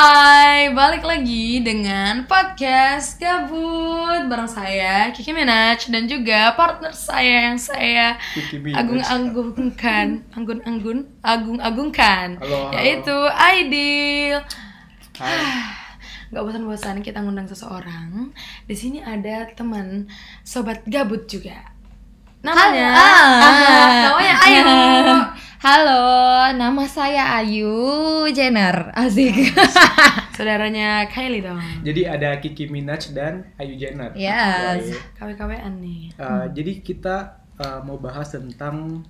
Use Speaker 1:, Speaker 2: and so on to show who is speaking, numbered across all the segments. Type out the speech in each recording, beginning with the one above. Speaker 1: Hai, balik lagi dengan podcast Gabut bareng saya Kiki Minaj dan juga partner saya yang saya
Speaker 2: Kiki Minaj.
Speaker 1: agung-agungkan, anggun-anggun, agung-agungkan,
Speaker 2: Halo, halo.
Speaker 1: yaitu Aidil.
Speaker 2: Hai.
Speaker 1: Gak bosan-bosan kita ngundang seseorang. Di sini ada teman sobat gabut juga. Namanya Ah, namanya Ayu.
Speaker 3: Halo, nama saya Ayu Jenner. Asik.
Speaker 1: Saudaranya Kylie dong.
Speaker 2: Jadi ada Kiki Minaj dan Ayu Jenner.
Speaker 3: Yes.
Speaker 2: Oke.
Speaker 1: KW-KWan nih.
Speaker 2: Eh, Jadi kita eh, mau bahas tentang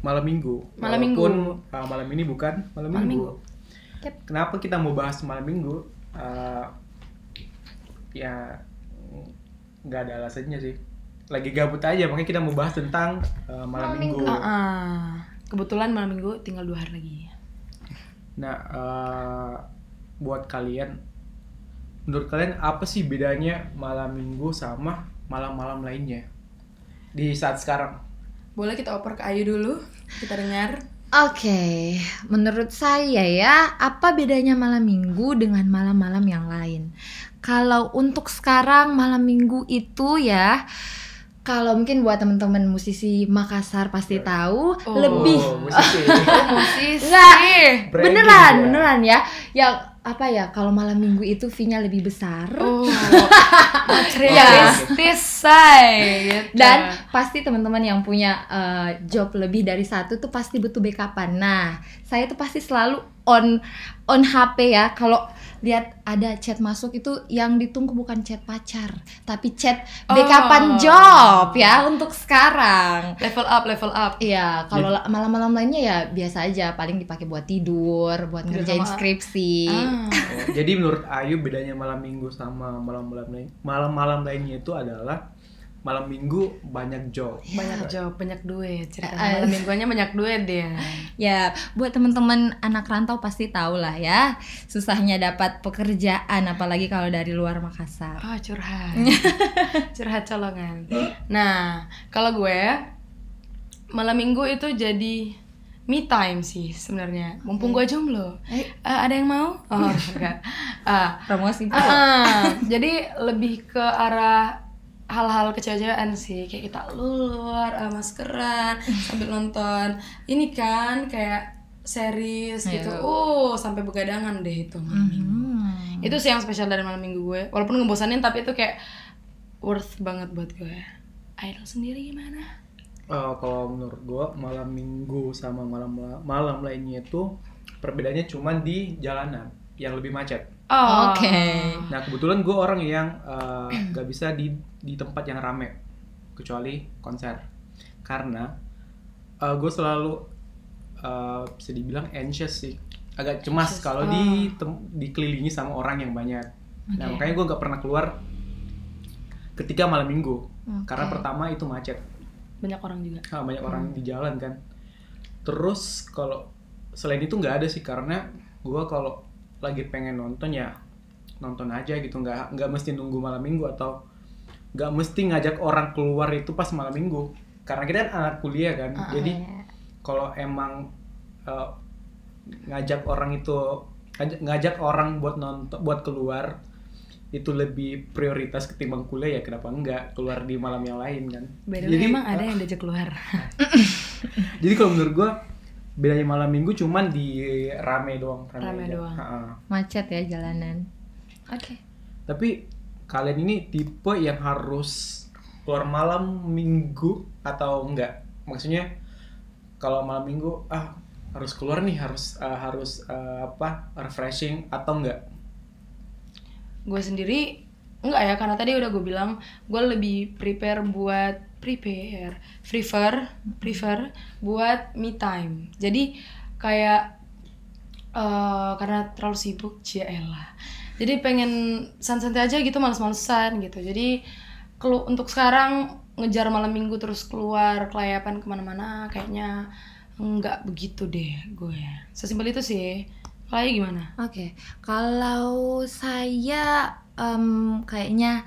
Speaker 2: malam minggu.
Speaker 1: Malam
Speaker 2: Walaupun,
Speaker 1: minggu.
Speaker 2: eh, malam ini bukan malam,
Speaker 1: Malam
Speaker 2: minggu.
Speaker 3: Yep.
Speaker 2: Kenapa kita mau bahas malam minggu? Eh, ya nggak ada alasannya sih. Lagi gabut aja, makanya kita mau bahas tentang eh, malam, minggu.
Speaker 3: gitu.
Speaker 1: Ah, kebetulan malam minggu tinggal dua hari lagi.
Speaker 2: Nah, eh, buat kalian, menurut kalian apa sih bedanya malam minggu sama malam-malam lainnya di saat sekarang?
Speaker 1: Boleh kita oper ke Ayu dulu? Kita dengar.
Speaker 3: Oke, menurut saya ya, apa bedanya malam minggu dengan malam-malam yang lain? Kalau untuk sekarang malam minggu itu ya, kalau mungkin buat teman-teman musisi Makassar pasti tahu,
Speaker 1: Oh.
Speaker 3: lebih
Speaker 2: Oh, musisi.
Speaker 1: Musisi.
Speaker 2: Branding
Speaker 3: beneran,
Speaker 2: ya.
Speaker 3: beneran ya. Ya apa ya? Kalau malam minggu itu V-nya lebih besar.
Speaker 1: Oh,
Speaker 3: Ya.
Speaker 1: materialistis Iya. say. Gitu.
Speaker 3: Dan pasti teman-teman yang punya eh, job lebih dari satu tuh pasti butuh backupan. Nah, saya tuh pasti selalu on on HP ya. Kalau lihat ada chat masuk itu yang ditunggu bukan chat pacar, tapi chat
Speaker 1: Oh.
Speaker 3: backupan job ya untuk sekarang.
Speaker 1: level up, level up.
Speaker 3: Iya, kalau la- malam-malam lainnya ya biasa aja, paling dipakai buat tidur, buat
Speaker 1: Tidur
Speaker 3: ngerjain
Speaker 1: sama-
Speaker 3: skripsi.
Speaker 1: Ah.
Speaker 2: Oh, Jadi menurut Ayu bedanya malam minggu sama malam-malam lain malam-malam lainnya itu adalah malam minggu banyak job.
Speaker 3: Iya.
Speaker 1: Banyak job, banyak duit. Cerita
Speaker 3: Eh,
Speaker 1: malam mingguannya banyak duit dia.
Speaker 3: Ya, buat teman-teman anak rantau pasti tahu lah ya, susahnya dapat pekerjaan apalagi kalau dari luar Makassar.
Speaker 1: Oh, curhat. curhat colongan. Nah, kalau gue malam minggu itu jadi me time sih sebenarnya. Mumpung gue jomblo. Eh,
Speaker 3: Eh.
Speaker 1: ada yang mau? Oh, enggak. Ah,
Speaker 3: Promosi.
Speaker 1: Ah, jadi lebih ke arah hal-hal kecewaan sih kayak kita luar ah, maskeran sambil nonton ini kan kayak series gitu
Speaker 3: Ayo.
Speaker 1: uh sampai begadangan deh itu malam minggu.
Speaker 3: Hmm.
Speaker 1: itu sih yang spesial dari malam minggu gue walaupun ngebosanin tapi itu kayak worth banget buat gue idol sendiri gimana
Speaker 2: Eh, kalau menurut gua malam minggu sama malam malam lainnya itu perbedaannya cuman di jalanan yang lebih macet.
Speaker 1: oh,
Speaker 3: Oke.
Speaker 2: Nah kebetulan gue orang yang eh, nggak bisa di di tempat yang rame kecuali konser karena gue selalu eh, bisa dibilang anxious sih agak cemas
Speaker 1: Anxious,
Speaker 2: kalau
Speaker 1: oh.
Speaker 2: di tem- dikelilingi sama orang yang banyak. Nah
Speaker 1: Oke.
Speaker 2: makanya gue nggak pernah keluar ketika malam minggu
Speaker 3: Oke.
Speaker 2: karena pertama itu macet
Speaker 1: banyak orang juga
Speaker 2: Ah, banyak orang
Speaker 1: Hmm.
Speaker 2: di jalan kan. Terus kalau selain itu nggak ada sih karena gua kalau lagi pengen nonton ya nonton aja gitu nggak nggak mesti nunggu malam minggu atau nggak mesti ngajak orang keluar itu pas malam minggu karena kita kan anak kuliah kan
Speaker 1: Ah,
Speaker 2: jadi
Speaker 1: iya,
Speaker 3: Iya,
Speaker 2: kalau emang eh, ngajak orang itu ngajak, ngajak orang buat nonton buat keluar itu lebih prioritas ketimbang kuliah ya kenapa enggak keluar di malam yang lain kan
Speaker 1: By the way, emang ada yang diajak keluar
Speaker 2: jadi kalau menurut gua bedanya malam minggu cuman di rame doang.
Speaker 1: Rame doang.
Speaker 2: Ha-ha.
Speaker 3: Macet ya jalanan. Oke.
Speaker 2: Tapi kalian ini tipe yang harus keluar malam minggu atau enggak? Maksudnya kalau malam minggu ah harus keluar nih harus eh, harus eh, apa refreshing atau enggak?
Speaker 1: gue sendiri enggak ya karena tadi udah gue bilang gue lebih prepare buat prepare prefer prefer buat me time jadi kayak eh, karena terlalu sibuk lah jadi pengen santai-santai aja gitu males-malesan gitu jadi kelu untuk sekarang ngejar malam minggu terus keluar kelayapan kemana-mana kayaknya enggak begitu deh gue sesimpel itu sih kalau Ayu gimana
Speaker 3: Oke, kalau saya em, kayaknya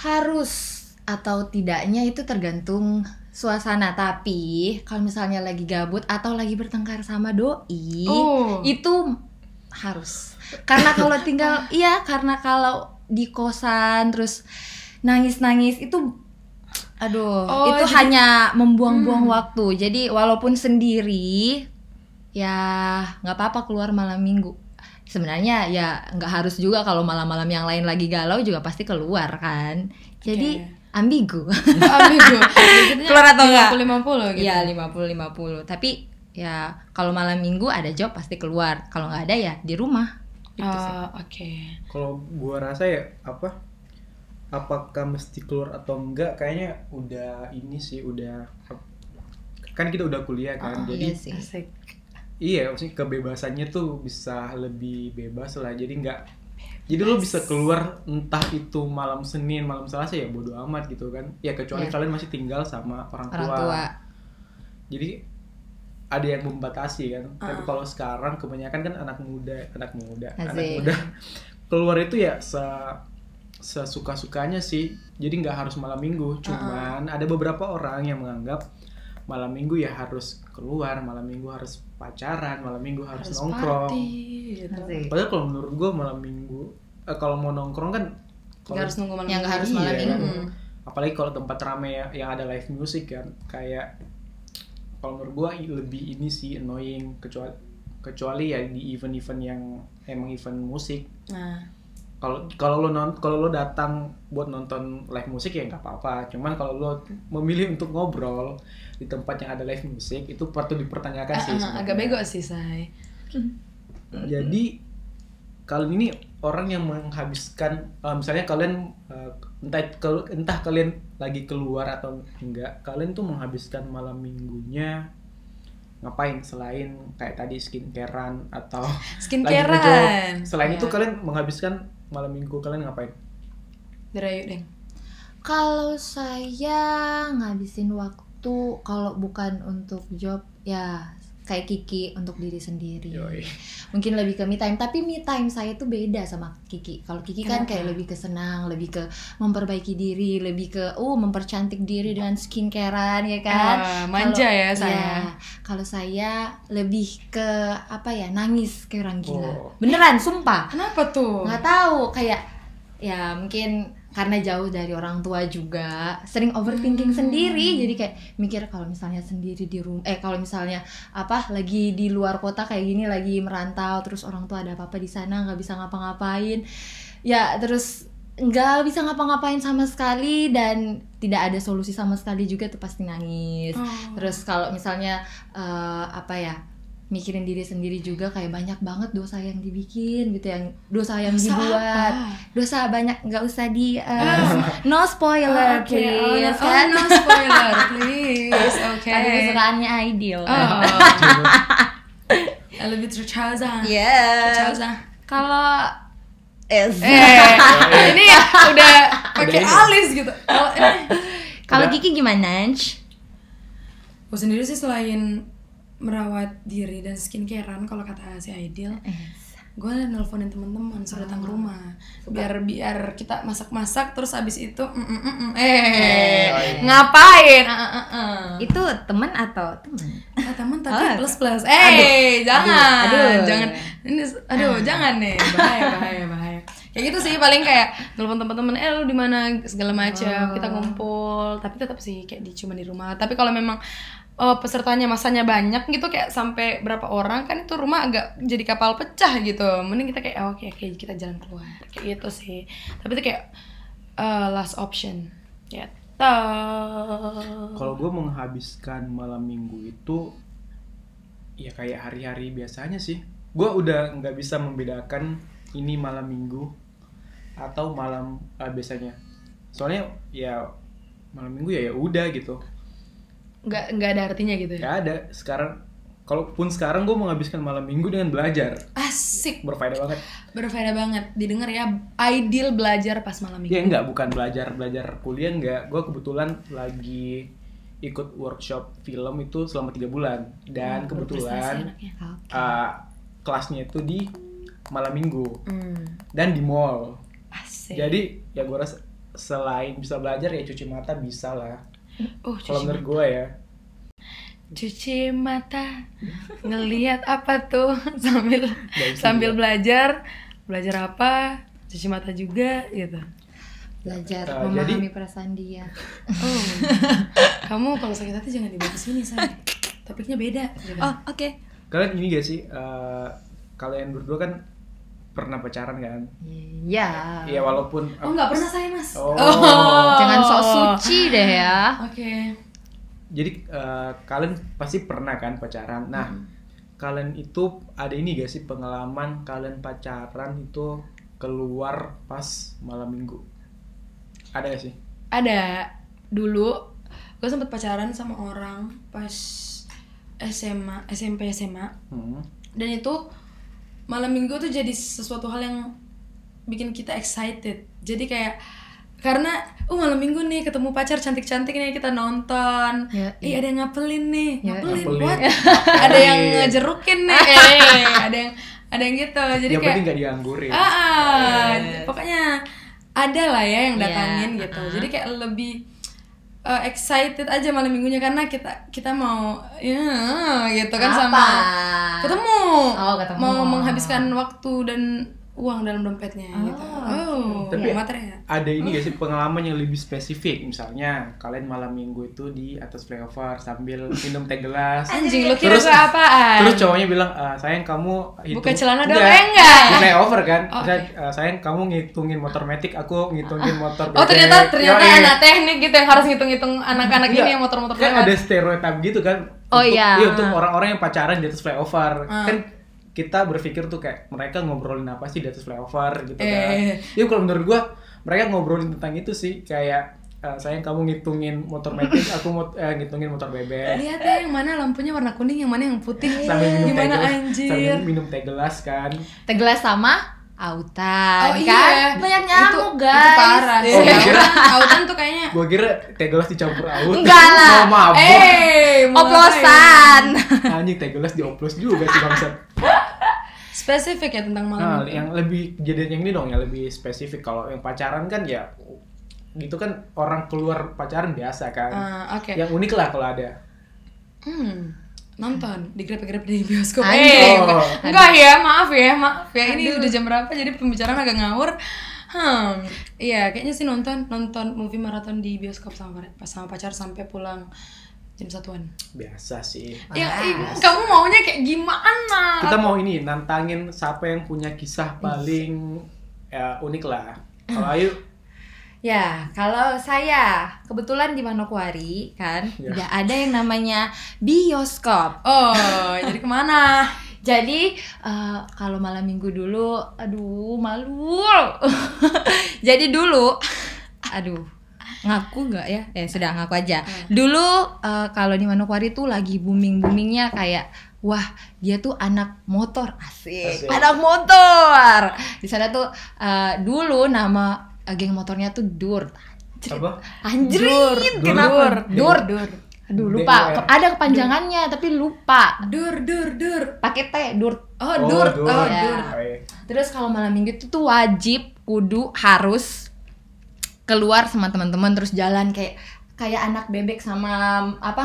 Speaker 3: harus atau tidaknya itu tergantung suasana. Tapi kalau misalnya lagi gabut atau lagi bertengkar sama doi,
Speaker 1: Oh.
Speaker 3: itu harus karena kalau tinggal iya karena kalau di kosan terus nangis-nangis itu aduh
Speaker 1: Oh,
Speaker 3: itu
Speaker 1: jadi-
Speaker 3: hanya
Speaker 1: Hmm.
Speaker 3: membuang-buang waktu jadi walaupun sendiri ya nggak apa-apa keluar malam minggu sebenarnya ya nggak harus juga kalau malam-malam yang lain lagi galau juga pasti keluar kan jadi ambigu
Speaker 1: Ambigu.
Speaker 3: Keluar atau enggak?
Speaker 1: 50 Oh, gitu.
Speaker 3: Iya 50-50 Tapi ya kalau malam minggu ada job pasti keluar Kalau nggak ada ya di rumah gitu sih.
Speaker 1: Ah, oke.
Speaker 2: kalau gua rasa ya apa apakah mesti keluar atau enggak kayaknya udah ini sih udah kan kita udah kuliah kan
Speaker 3: Oh,
Speaker 2: jadi
Speaker 3: iya sih.
Speaker 1: Asik.
Speaker 2: iya maksudnya kebebasannya tuh bisa lebih bebas lah jadi nggak jadi lo bisa keluar entah itu malam Senin malam Selasa ya bodo amat gitu kan ya kecuali
Speaker 3: Iya.
Speaker 2: kalian masih tinggal sama orang,
Speaker 3: Orang tua
Speaker 2: jadi ada yang membatasi kan
Speaker 3: Ah.
Speaker 2: tapi kalau sekarang kebanyakan kan anak muda anak muda anak
Speaker 3: Asik.
Speaker 2: muda keluar itu ya se sesuka sukanya sih jadi nggak harus malam minggu
Speaker 1: Ah.
Speaker 2: cuman ada beberapa orang yang menganggap malam minggu ya harus keluar malam minggu harus pacaran malam minggu harus,
Speaker 1: Harus
Speaker 2: nongkrong
Speaker 1: party gitu.
Speaker 3: Asik.
Speaker 2: padahal kalau menurut gue malam minggu eh, kalau mau nongkrong kan
Speaker 1: Nggak
Speaker 2: kalau-
Speaker 1: harus nunggu malam. Hmm.
Speaker 3: Yang nggak harus malam
Speaker 2: Iya.
Speaker 3: minggu
Speaker 2: apalagi kalau tempat rame ya yang ada live music kan kayak kalau menurut gua i- lebih ini sih annoying kecuali kecuali ya di event-event yang emang event musik
Speaker 1: Nah,
Speaker 2: kalau kalau lo non kalau lo datang buat nonton live musik ya nggak apa-apa cuman kalau lo memilih untuk ngobrol di tempat yang ada live musik itu perlu dipertanyakan
Speaker 1: ah,
Speaker 2: sih
Speaker 1: ah,
Speaker 2: sebenarnya.
Speaker 1: agak bego sih say.
Speaker 2: jadi kalian ini orang yang menghabiskan eh, misalnya kalian eh, entah ke- entah kalian lagi keluar atau enggak kalian tuh menghabiskan malam minggunya ngapain selain kayak tadi skincarean atau lagi ngejob.
Speaker 1: Skincarean.
Speaker 2: selain
Speaker 1: Ya.
Speaker 2: itu kalian menghabiskan malam minggu kalian ngapain
Speaker 1: dirayu deh.
Speaker 3: Kalau saya ngabisin waktu Kalau bukan untuk job ya kayak Kiki untuk diri sendiri
Speaker 2: Yoi.
Speaker 3: mungkin lebih ke me time tapi me time saya tuh beda sama Kiki kalau Kiki kan
Speaker 1: Kenapa?
Speaker 3: kayak lebih ke senang lebih ke memperbaiki diri lebih ke oh mempercantik diri dengan skincarean ya kan
Speaker 1: Ah, manja
Speaker 3: Kalau-
Speaker 1: ya saya.
Speaker 3: Iya. kalau saya lebih ke apa ya nangis kayak orang gila
Speaker 2: Oh.
Speaker 3: beneran sumpah
Speaker 1: Kenapa tuh?
Speaker 3: nggak tahu kayak ya mungkin karena jauh dari orang tua juga sering overthinking
Speaker 1: Hmm.
Speaker 3: sendiri jadi kayak mikir kalau misalnya sendiri di rumah eh kalau misalnya apa lagi di luar kota kayak gini lagi merantau terus orang tua ada apa-apa di sana nggak bisa ngapa-ngapain ya terus nggak bisa ngapa-ngapain sama sekali dan tidak ada solusi sama sekali juga tuh pasti nangis
Speaker 1: Oh.
Speaker 3: Terus kalau misalnya eh, apa ya mikirin diri sendiri juga kayak banyak banget dosa yang dibikin gitu yang dosa yang
Speaker 1: Dosa
Speaker 3: dibuat
Speaker 1: apa?
Speaker 3: dosa banyak nggak usah di eh, no
Speaker 1: Oh,
Speaker 3: spoiler
Speaker 1: oke. Oh,
Speaker 3: please
Speaker 1: no- oh,
Speaker 3: kan
Speaker 1: no spoiler, please. Oke.
Speaker 3: lagu kesukaannya ideal
Speaker 1: Oh. I love you through Chaza.
Speaker 3: Iya. yes
Speaker 1: Chaza.
Speaker 3: kalau es
Speaker 1: Eh, ini udah pakai
Speaker 2: Udah ini.
Speaker 1: alis gitu. Kalau eh,
Speaker 3: kalau
Speaker 2: Udah.
Speaker 3: Kiki gimana Anj?
Speaker 1: gue sendiri sih selain merawat diri dan skincarean kalau kata si Aidil,
Speaker 2: Eh.
Speaker 1: gue nelponin teman-teman suruh datang ke rumah biar biar kita masak-masak terus abis itu mm, mm, mm, mm. eh
Speaker 2: Oh, iya.
Speaker 1: ngapain Ah, ah, ah, ah.
Speaker 3: itu teman atau teman
Speaker 1: Ah, teman tapi
Speaker 3: Ah.
Speaker 1: plus plus eh jangan
Speaker 3: aduh, aduh. Ah.
Speaker 1: jangan ini aduh jangan nih bahaya bahaya bahaya kayak gitu sih paling kayak telepon teman-teman eh lu di mana segala
Speaker 3: Oh.
Speaker 1: macam kita ngumpul tapi tetap sih kayak di cuma di rumah tapi kalau memang eh, pesertanya masanya banyak gitu kayak sampai berapa orang kan itu rumah agak jadi kapal pecah gitu mending kita kayak oh, oke oke kita jalan keluar kayak gitu sih tapi itu kayak eh, last option ya
Speaker 2: kalau gue menghabiskan malam minggu itu ya kayak hari-hari biasanya sih gue udah nggak bisa membedakan ini malam minggu atau malam eh, biasanya soalnya ya malam minggu ya ya udah gitu
Speaker 1: nggak nggak ada artinya gitu ya
Speaker 2: nggak ada sekarang kalaupun sekarang gue menghabiskan malam minggu dengan belajar
Speaker 1: Asik,
Speaker 2: berfaedah banget
Speaker 1: berfaedah banget. Didengar ya, ideal belajar pas malam minggu.
Speaker 2: ya enggak bukan belajar belajar kuliah enggak gue kebetulan lagi ikut workshop film itu selama tiga bulan dan Iya,
Speaker 1: Oh,
Speaker 2: kan,
Speaker 1: ya.
Speaker 2: kebetulan uh, kelasnya itu di malam minggu
Speaker 1: Hmm.
Speaker 2: dan di mall.
Speaker 1: Asik.
Speaker 2: Jadi ya gue rasa selain bisa belajar ya cuci mata bisa lah.
Speaker 1: oh, cuci.
Speaker 2: Kalau menurut gue ya.
Speaker 1: cuci mata ngelihat apa tuh sambil
Speaker 2: Dari
Speaker 1: sambil belajar belajar apa cuci mata juga gitu
Speaker 3: belajar
Speaker 2: Eh, jadi-
Speaker 3: memahami perasaan dia
Speaker 1: oh kamu kalau sakit hati jangan dibawa ke sini saya topiknya beda gitu.
Speaker 2: Ah.
Speaker 3: oh oke
Speaker 2: Kalian gini gak sih? eh, kalian berdua kan pernah pacaran kan?
Speaker 3: iya
Speaker 2: Iya walaupun
Speaker 1: oh nggak pernah saya mas
Speaker 2: Oh.
Speaker 3: jangan
Speaker 1: Oh.
Speaker 3: sok suci deh ya
Speaker 1: oke
Speaker 2: Jadi eh, kalian pasti pernah kan pacaran. Nah, kalian itu ada ini gak sih pengalaman kalian pacaran itu keluar pas malam minggu? Ada gak sih?
Speaker 1: ada dulu gue sempet pacaran sama orang pas SMA SMP SMA
Speaker 2: Hmm.
Speaker 1: dan itu malam minggu tuh jadi sesuatu hal yang bikin kita excited jadi kayak karena oh malam minggu nih ketemu pacar cantik cantik nih kita nonton
Speaker 3: Ya,
Speaker 1: ih
Speaker 3: iya.
Speaker 1: ada yang ngapelin nih
Speaker 3: Ya,
Speaker 1: ngapelin,
Speaker 2: ngapelin.
Speaker 1: what?
Speaker 2: Ngapelin.
Speaker 1: ada yang ngejerukin nih Eh, ada yang ada yang gitu jadi
Speaker 2: yang
Speaker 1: kayak
Speaker 2: penting gak dianggurin.
Speaker 1: ah, ah.
Speaker 3: Yes.
Speaker 1: pokoknya ada lah ya yang
Speaker 3: Iya,
Speaker 1: datangin gitu
Speaker 3: uh-uh.
Speaker 1: jadi kayak lebih uh, excited aja malam minggunya karena kita kita mau ya gitu kan sama ketemu
Speaker 3: Oh, ketemu.
Speaker 1: mau menghabiskan waktu dan uang dalam dompetnya
Speaker 3: Oh,
Speaker 1: gitu
Speaker 3: oke.
Speaker 1: oh ya,
Speaker 2: Tapi-
Speaker 1: materi ya?
Speaker 2: Ada ini gak sih pengalaman yang lebih spesifik? Misalnya kalian malam minggu itu di atas flyover sambil minum teh gelas.
Speaker 1: anjing lu kira
Speaker 2: Terus-
Speaker 1: gue apaan
Speaker 2: Terus cowoknya bilang, "Ah, sayang kamu hitung.
Speaker 1: buka celana dong
Speaker 2: Enggak.
Speaker 1: eh, enggak
Speaker 2: Di flyover kan,
Speaker 1: Oh,
Speaker 2: Saya- eh, sayang kamu ngitungin motor metik, aku ngitungin motor
Speaker 1: oh
Speaker 2: bebek."
Speaker 1: ternyata ternyata
Speaker 2: Yoi.
Speaker 1: anak teknik gitu yang harus ngitung-ngitung anak-anak ini
Speaker 2: Enggak,
Speaker 1: yang motor-motor
Speaker 2: kan
Speaker 1: lewat.
Speaker 2: ada stereotip gitu kan
Speaker 3: Oh,
Speaker 2: untuk,
Speaker 3: iya.
Speaker 2: untuk orang-orang yang pacaran di atas flyover
Speaker 1: Ah.
Speaker 2: kan kita berpikir tuh kayak mereka ngobrolin apa sih di atas flyover gitu
Speaker 1: Eh.
Speaker 2: kan ya kalau menurut gua mereka ngobrolin tentang itu sih kayak eh, sayang kamu ngitungin motor metik aku mau eh, ngitungin motor bebek
Speaker 1: lihat ya yang mana lampunya warna kuning yang mana yang putih
Speaker 2: sambil minum teh
Speaker 1: gimana
Speaker 2: gelas
Speaker 1: anjir
Speaker 2: sambil minum teh gelas kan
Speaker 3: Tegelas sama autan
Speaker 1: Oh iya,
Speaker 3: kan banyak nyamuk
Speaker 1: itu,
Speaker 3: guys Eh,
Speaker 1: Itu parah sih.
Speaker 2: Oh, iya.
Speaker 1: Autan, autan tuh kayaknya
Speaker 2: gua kira teh gelas dicampur out
Speaker 3: Enggak lah.
Speaker 2: mau mabuk
Speaker 1: eh mulai.
Speaker 3: oplosan
Speaker 2: anjing teh gelas dioplos juga sih bangsat
Speaker 1: Spesifik ya tentang malam.
Speaker 2: Nah, yang lebih kejadian yang ini dong, yang lebih spesifik. Kalau yang pacaran kan ya gitu kan orang keluar pacaran biasa kan.
Speaker 1: Ah, oke.
Speaker 2: Yang unik lah kalau ada.
Speaker 1: Hmm, nonton di grab-grab di bioskop.
Speaker 3: Aduh.
Speaker 1: Eh,
Speaker 2: Oh.
Speaker 1: enggak ya, maaf ya, maaf ya. Ini udah jam berapa jadi pembicaraan agak ngawur. Hmm, iya kayaknya sih nonton nonton movie maraton di bioskop sama pas sama pacar sampai pulang jam satuan.
Speaker 2: Biasa sih.
Speaker 1: Ya, ih, kamu maunya kayak gimana?
Speaker 2: Kita mau ini nantangin siapa yang punya kisah paling ya, unik lah. Kalau Ayu
Speaker 3: Ya, kalau saya kebetulan di Manokwari kan
Speaker 2: Ya.
Speaker 3: nggak ada yang namanya bioskop.
Speaker 1: Oh, jadi kemana?
Speaker 3: Jadi eh, kalau malam minggu dulu, aduh malu. Jadi dulu, aduh ngaku nggak ya? Eh sudah ngaku aja. Dulu eh, kalau di Manokwari tuh lagi booming boomingnya kayak wah dia tuh anak motor
Speaker 2: Asik.
Speaker 3: asik, anak motor. Di sana tuh eh, dulu nama eh, geng motornya tuh Dur.
Speaker 2: apa?
Speaker 3: Anjir,
Speaker 2: Dur. Dur.
Speaker 3: kenapa? Dur.
Speaker 1: Dur,
Speaker 3: Aduh
Speaker 2: Dur.
Speaker 3: lupa, Ke- ada kepanjangannya tapi lupa.
Speaker 1: dur, dur, dur.
Speaker 3: Pakai T, dur.
Speaker 1: Oh, dur,
Speaker 2: dur.
Speaker 1: oh,
Speaker 3: Ya.
Speaker 1: dur.
Speaker 2: Oh, iya.
Speaker 3: Terus kalau malam minggu itu tuh wajib kudu harus keluar sama teman-teman terus jalan kayak kayak anak bebek sama apa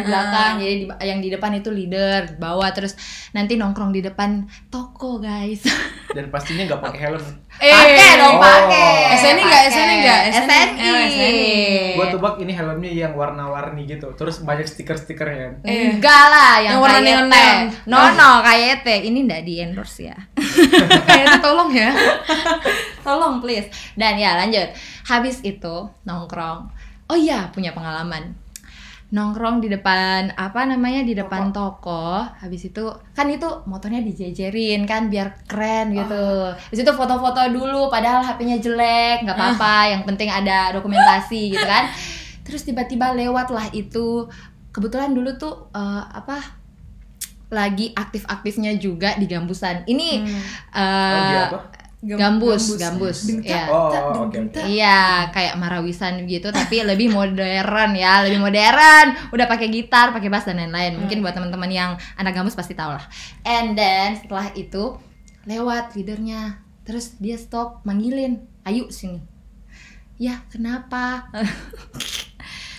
Speaker 1: Mamanya,
Speaker 3: di belakang. Jadi di- yang di depan itu leader, di bawah terus nanti nongkrong di depan toko, guys.
Speaker 2: Dan pastinya nggak pakai helm.
Speaker 3: Eh. pakai
Speaker 1: Eh.
Speaker 2: oh.
Speaker 3: dong, pakai.
Speaker 1: SNI nggak?
Speaker 3: Pakai.
Speaker 1: SNI nggak?
Speaker 3: SNI.
Speaker 1: Oh, SNI.
Speaker 2: Gua tebak ini helmnya yang warna-warni gitu. Terus banyak stiker-stikernya.
Speaker 1: Eh.
Speaker 3: Enggak lah
Speaker 1: Yang
Speaker 3: yang,
Speaker 1: warna
Speaker 3: kayak
Speaker 1: neon
Speaker 3: teh.
Speaker 1: neon.
Speaker 3: No no kayak teh. Ini enggak di endorse ya.
Speaker 1: Kayaknya tolong ya.
Speaker 3: Tolong please. Dan ya lanjut. Habis itu nongkrong. Oh iya punya pengalaman. Nongkrong di depan apa namanya di depan toko. Habis itu kan itu motornya dijejerin kan biar keren gitu. Habis itu foto-foto dulu padahal HP-nya jelek, nggak apa-apa, yang penting ada dokumentasi gitu kan. Terus tiba-tiba lewatlah itu kebetulan dulu tuh eh, apa lagi aktif-aktifnya juga di gambusan. Ini
Speaker 1: Hmm.
Speaker 3: eh,
Speaker 2: Oh,
Speaker 1: Ah,
Speaker 2: dia apa?
Speaker 3: Gambus, gambus. Iya.
Speaker 2: Oh, oke, oke.
Speaker 3: Iya, kayak marawisan gitu tapi lebih modern ya, lebih modern. Udah pakai gitar, pakai bass dan lain-lain. Mungkin buat teman-teman yang anak gambus pasti tahu lah. And then setelah itu lewat leadernya. Terus dia stop manggilin, "Ayu sini." Ya, kenapa?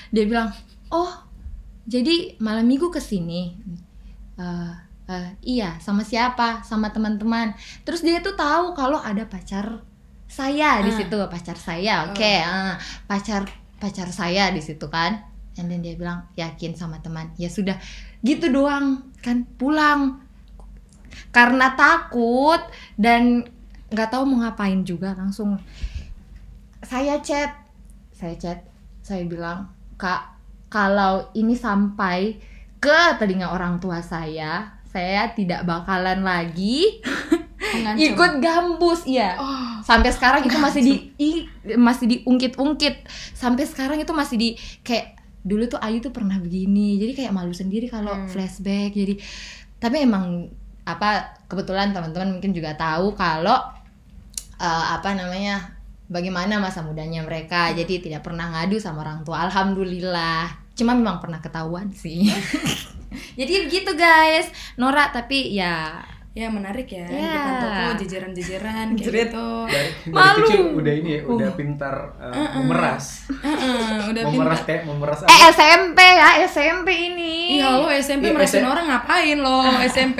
Speaker 3: dia bilang, "Oh, jadi malam minggu kesini Eh, eh, iya sama siapa sama teman-teman terus dia tuh tahu kalau ada pacar saya di
Speaker 1: Ah.
Speaker 3: situ pacar saya oke eh, pacar pacar saya di situ kan and then dia bilang yakin sama teman ya sudah gitu doang kan pulang karena takut dan nggak tahu mau ngapain juga langsung saya chat saya chat saya bilang kak kalau ini sampai ke telinga orang tua saya saya tidak bakalan lagi
Speaker 1: Mengancam.
Speaker 3: ikut gambus ya
Speaker 1: Oh,
Speaker 3: sampai sekarang itu masih di i- masih diungkit-ungkit sampai sekarang itu masih di kayak dulu tuh Ayu tuh pernah begini jadi kayak malu sendiri kalau
Speaker 1: Hmm.
Speaker 3: flashback jadi tapi emang apa kebetulan teman-teman mungkin juga tahu kalau eh, apa namanya bagaimana masa mudanya mereka
Speaker 1: Hmm.
Speaker 3: jadi tidak pernah ngadu sama orang tua alhamdulillah cuma memang pernah ketahuan sih jadi begitu guys Nora tapi ya
Speaker 1: ya menarik ya di
Speaker 3: Ya.
Speaker 1: depan toko jejeran-jejeran kayak
Speaker 3: Jerit.
Speaker 1: gitu.
Speaker 2: dari, dari
Speaker 3: Malu.
Speaker 2: kecil udah ini ya udah
Speaker 3: Uh.
Speaker 2: pintar uh, memeras
Speaker 1: Heeh, udah
Speaker 2: memeras
Speaker 1: pintar.
Speaker 2: teh memeras
Speaker 3: eh SMP ya SMP ini
Speaker 1: Iya lo SMP
Speaker 2: Iya,
Speaker 1: merasin
Speaker 2: S-
Speaker 1: orang ngapain lo SMP?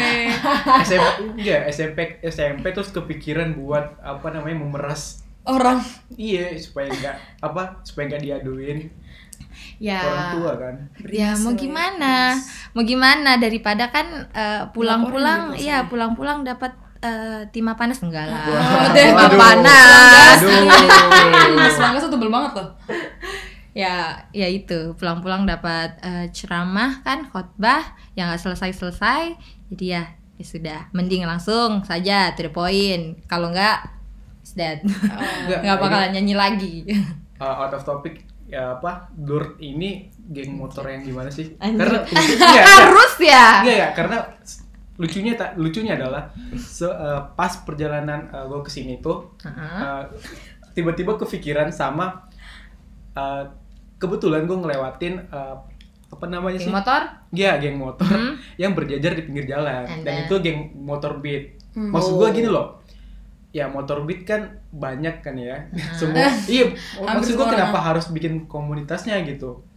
Speaker 2: SMP enggak SMP SMP terus kepikiran buat apa namanya memeras
Speaker 1: orang
Speaker 2: iya supaya enggak apa supaya enggak diaduin
Speaker 3: ya
Speaker 2: orang tua kan
Speaker 3: ya mau
Speaker 1: Berisik.
Speaker 3: gimana mau gimana daripada kan eh, pulang-pulang
Speaker 1: Laporan gitu
Speaker 3: ya
Speaker 1: rasanya.
Speaker 3: pulang-pulang dapat eh, timah panas enggak lah
Speaker 2: Wah,
Speaker 1: deh.
Speaker 3: timah
Speaker 2: waduh.
Speaker 3: ya, panas
Speaker 1: Mas
Speaker 2: aduh
Speaker 1: Mangga tuh tebel banget loh.
Speaker 3: ya ya itu pulang-pulang dapat eh, ceramah kan khotbah yang nggak selesai-selesai jadi ya ya sudah mending langsung saja to the point kalau enggak is dead
Speaker 2: Enggak,
Speaker 3: nggak
Speaker 2: ini-
Speaker 3: bakalan nyanyi lagi
Speaker 2: uh, out of topic ya apa Durt ini geng motor yang gimana sih?
Speaker 3: Anjing.
Speaker 2: Karena iya,
Speaker 3: harus ya
Speaker 2: Iya ya, karena s- lucunya tak lucunya adalah se- eh, pas perjalanan eh, gue kesini tuh
Speaker 3: Heeh.
Speaker 2: eh, tiba-tiba kepikiran sama eh, kebetulan gue ngelewatin eh, apa namanya
Speaker 3: Geng
Speaker 2: sih?
Speaker 3: motor
Speaker 2: Iya geng motor
Speaker 3: Hmm.
Speaker 2: yang berjajar di pinggir jalan
Speaker 3: And
Speaker 2: dan
Speaker 3: then-
Speaker 2: itu geng motor beat.
Speaker 1: Hmm.
Speaker 2: Maksud gue gini loh. Ya motor beat kan banyak kan ya. Semua iya
Speaker 1: Nah. Hampir
Speaker 2: maksud gue
Speaker 1: semua
Speaker 2: kenapa harus bikin komunitasnya gitu.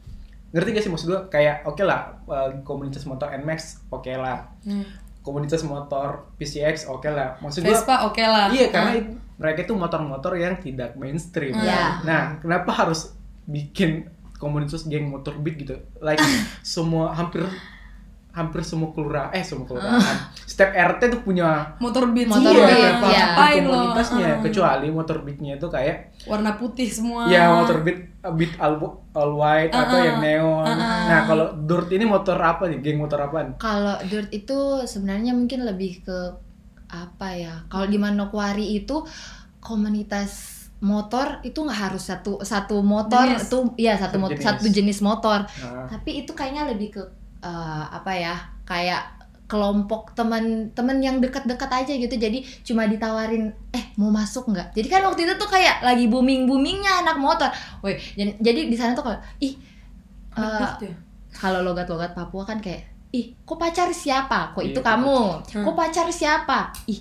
Speaker 2: Ngerti gak sih maksud gue kayak oke lah eh, komunitas motor NMAX oke lah.
Speaker 1: Hmm.
Speaker 2: Komunitas motor PCX oke lah. Maksud gue
Speaker 1: Vespa oke lah.
Speaker 2: Iya karena it- mereka itu motor-motor yang tidak mainstream.
Speaker 1: Iya.
Speaker 2: kan. Nah kenapa harus bikin komunitas geng motor beat gitu? Like semua hampir hampir semua kelurahan eh semua kelurahan setiap RT tuh punya
Speaker 1: Motor beat
Speaker 3: Motor
Speaker 1: semua.
Speaker 3: beat,
Speaker 2: kenapa
Speaker 3: iya.
Speaker 2: bikin
Speaker 1: Ngapain lo?
Speaker 2: komunitasnya
Speaker 1: Heeh.
Speaker 2: kecuali motor beatnya itu kayak
Speaker 1: Warna putih semua.
Speaker 2: ya
Speaker 3: Eh,
Speaker 2: motor beat beat all, all white atau
Speaker 1: Heeh.
Speaker 2: yang neon
Speaker 1: Heeh.
Speaker 2: nah kalau dirt ini motor apa nih geng motor apaan
Speaker 3: Kalau dirt itu sebenarnya mungkin lebih ke apa ya? Kalau di Manokwari itu komunitas motor itu nggak harus satu satu motor
Speaker 1: Jenis.
Speaker 3: itu ya
Speaker 2: Satu
Speaker 3: satu mot-
Speaker 2: jenis.
Speaker 3: satu jenis Ah. motor.
Speaker 2: nah,
Speaker 3: Tapi itu kayaknya lebih ke eh, apa ya? Kayak kelompok temen-temen yang dekat-dekat aja gitu jadi cuma ditawarin eh mau masuk nggak jadi kan waktu itu tuh kayak lagi booming boomingnya anak motor, woi jadi, jadi di sana tuh kalau ih
Speaker 1: Anak
Speaker 3: eh,
Speaker 1: beat ya?
Speaker 3: kalau logat-logat Papua kan kayak ih kok pacar siapa kok
Speaker 2: Iya,
Speaker 3: itu
Speaker 2: kok
Speaker 3: kamu
Speaker 1: pacar."
Speaker 3: kok pacar siapa ih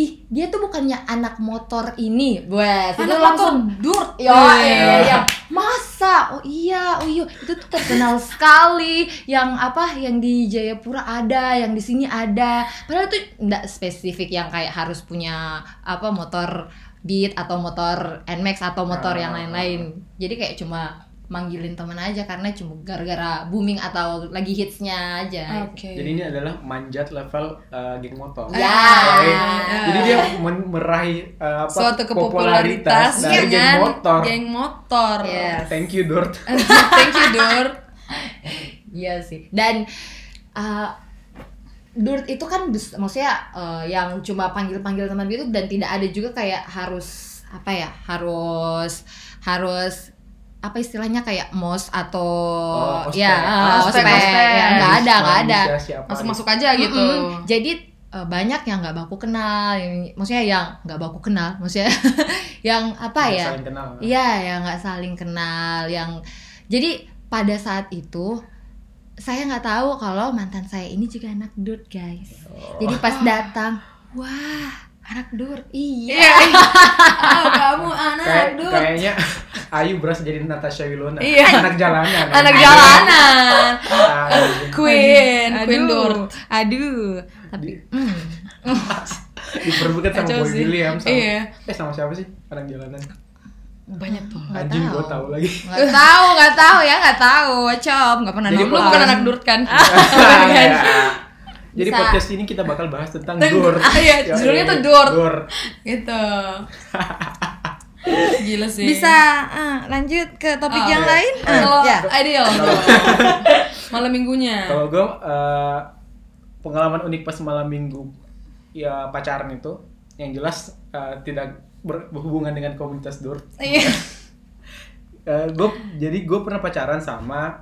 Speaker 3: ih dia tuh bukannya anak motor ini buat itu
Speaker 1: Anak
Speaker 3: langsung
Speaker 1: motor dur.
Speaker 3: Yo,
Speaker 2: Iya.
Speaker 3: eh, ya. masa? Oh iya, oh iya, itu tuh terkenal sekali. Yang apa? Yang di Jayapura ada, yang di sini ada. Padahal itu enggak spesifik yang kayak harus punya apa motor Beat atau motor Nmax atau motor yang lain-lain. Jadi kayak cuma manggilin temen aja karena cuma gara-gara booming atau lagi hitsnya aja.
Speaker 1: Oke.
Speaker 2: jadi ini adalah manjat level eh, geng
Speaker 1: Ah.
Speaker 2: motor
Speaker 3: Ya.
Speaker 2: Oke.
Speaker 1: Ya.
Speaker 2: Jadi dia men- meraih uh, apa,
Speaker 1: suatu kepopularitas
Speaker 2: popularitas dari geng
Speaker 1: dengan
Speaker 2: motor.
Speaker 1: geng motor. Eh,
Speaker 3: Yes.
Speaker 2: Thank you Dort.
Speaker 1: Thank you Dur.
Speaker 3: Iya sih. Dan uh, Dirt itu kan bes- maksudnya uh, yang cuma panggil-panggil teman gitu dan tidak ada juga kayak harus apa ya? Harus harus apa istilahnya kayak mos atau
Speaker 2: Oh, ospek.
Speaker 3: ya
Speaker 2: Ah,
Speaker 3: uh,
Speaker 1: ospek,
Speaker 3: ospek. Ya,
Speaker 1: ospek.
Speaker 2: Iya,
Speaker 3: nggak ada nggak ada
Speaker 2: Manusia siapa
Speaker 1: Langsung
Speaker 2: nih?
Speaker 1: masuk aja gitu.
Speaker 3: Mm-mm. Jadi eh, banyak yang nggak baku kenal, yang- maksudnya yang nggak baku kenal, maksudnya yang apa
Speaker 2: Nggak
Speaker 3: ya?
Speaker 2: saling kenal.
Speaker 3: Iya, yang nggak saling kenal, yang jadi pada saat itu saya nggak tahu kalau mantan saya ini juga anak durt guys.
Speaker 2: Oh.
Speaker 3: Jadi pas datang, wah anak durt, iya.
Speaker 1: Iya. Oh, kamu anak
Speaker 2: Kayak-
Speaker 1: Dur.
Speaker 2: kayaknya Ayu berasa jadi Natasha Wilona
Speaker 1: Iya.
Speaker 2: anak jalanan
Speaker 3: anak jalanan
Speaker 2: Ayu.
Speaker 1: Queen, Queen Dort.
Speaker 3: aduh aduh
Speaker 2: Di-
Speaker 3: Hmm.
Speaker 2: diperbudak sama
Speaker 1: Kacau
Speaker 2: Boy
Speaker 1: sih.
Speaker 2: William sama
Speaker 1: Iya.
Speaker 2: eh sama siapa sih anak jalanan
Speaker 1: Banyak tuh.
Speaker 3: Nggak
Speaker 2: anjing
Speaker 3: tahu.
Speaker 2: gue tahu lagi
Speaker 3: nggak tahu nggak tahu ya nggak tahu com nggak pernah
Speaker 2: Jadi
Speaker 1: Lu
Speaker 3: nonton
Speaker 1: bukan anak Durt kan?
Speaker 3: Ah.
Speaker 2: Ya. jadi
Speaker 3: Bisa.
Speaker 2: podcast ini kita bakal bahas tentang
Speaker 1: Tentang-
Speaker 2: dur
Speaker 1: Iya,
Speaker 2: Yoi,
Speaker 1: judulnya tuh Dur.
Speaker 2: dur
Speaker 1: gitu. Gila sih.
Speaker 3: bisa ah, lanjut ke topik
Speaker 1: Ah,
Speaker 3: yang
Speaker 2: iya.
Speaker 3: lain Ah,
Speaker 1: Kalau
Speaker 3: ya.
Speaker 1: ideal malam minggunya.
Speaker 2: kalau gue pengalaman unik pas malam minggu ya pacaran itu yang jelas eh, tidak ber- berhubungan dengan komunitas dur
Speaker 1: Iya.
Speaker 2: gue jadi gue pernah pacaran sama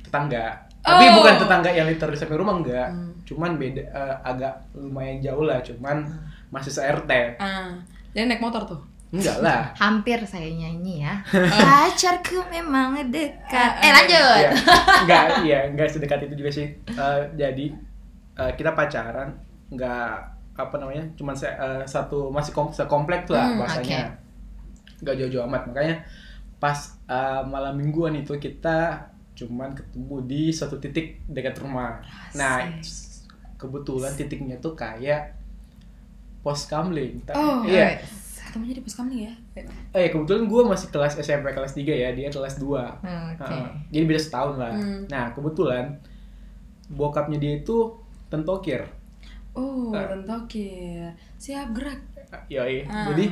Speaker 2: tetangga tapi
Speaker 1: Oh.
Speaker 2: bukan tetangga yang literally sampai rumah enggak cuman beda eh, agak lumayan jauh lah cuman masih se RT
Speaker 1: Ah, jadi naik motor tuh.
Speaker 2: enggak lah
Speaker 3: hampir saya nyanyi ya pacarku memang dekat eh lanjut
Speaker 2: Iya, nggak iya nggak sedekat itu juga sih Eh, jadi eh, kita pacaran nggak apa namanya cuman se- eh, satu masih kom sekomplek tuh lah
Speaker 1: Hmm,
Speaker 2: bahasanya nggak jauh-jauh amat makanya pas eh, malam mingguan itu kita cuman ketemu di suatu titik dekat rumah nah
Speaker 1: Asik.
Speaker 2: s- kebetulan titiknya tuh kayak pos kamling Ta-
Speaker 1: Oh,
Speaker 2: iya
Speaker 1: Ketemunya di pos kamling ya.
Speaker 2: eh kebetulan gue masih kelas SMP kelas 3 ya dia kelas 2
Speaker 3: oke
Speaker 2: Heeh. Jadi beda setahun lah.
Speaker 1: Hmm.
Speaker 2: Nah, kebetulan bokapnya dia itu tentokir.
Speaker 1: Oh,
Speaker 2: Ah.
Speaker 1: rentokir. Siap gerak.
Speaker 2: Yoi.
Speaker 1: Ah.
Speaker 2: Jadi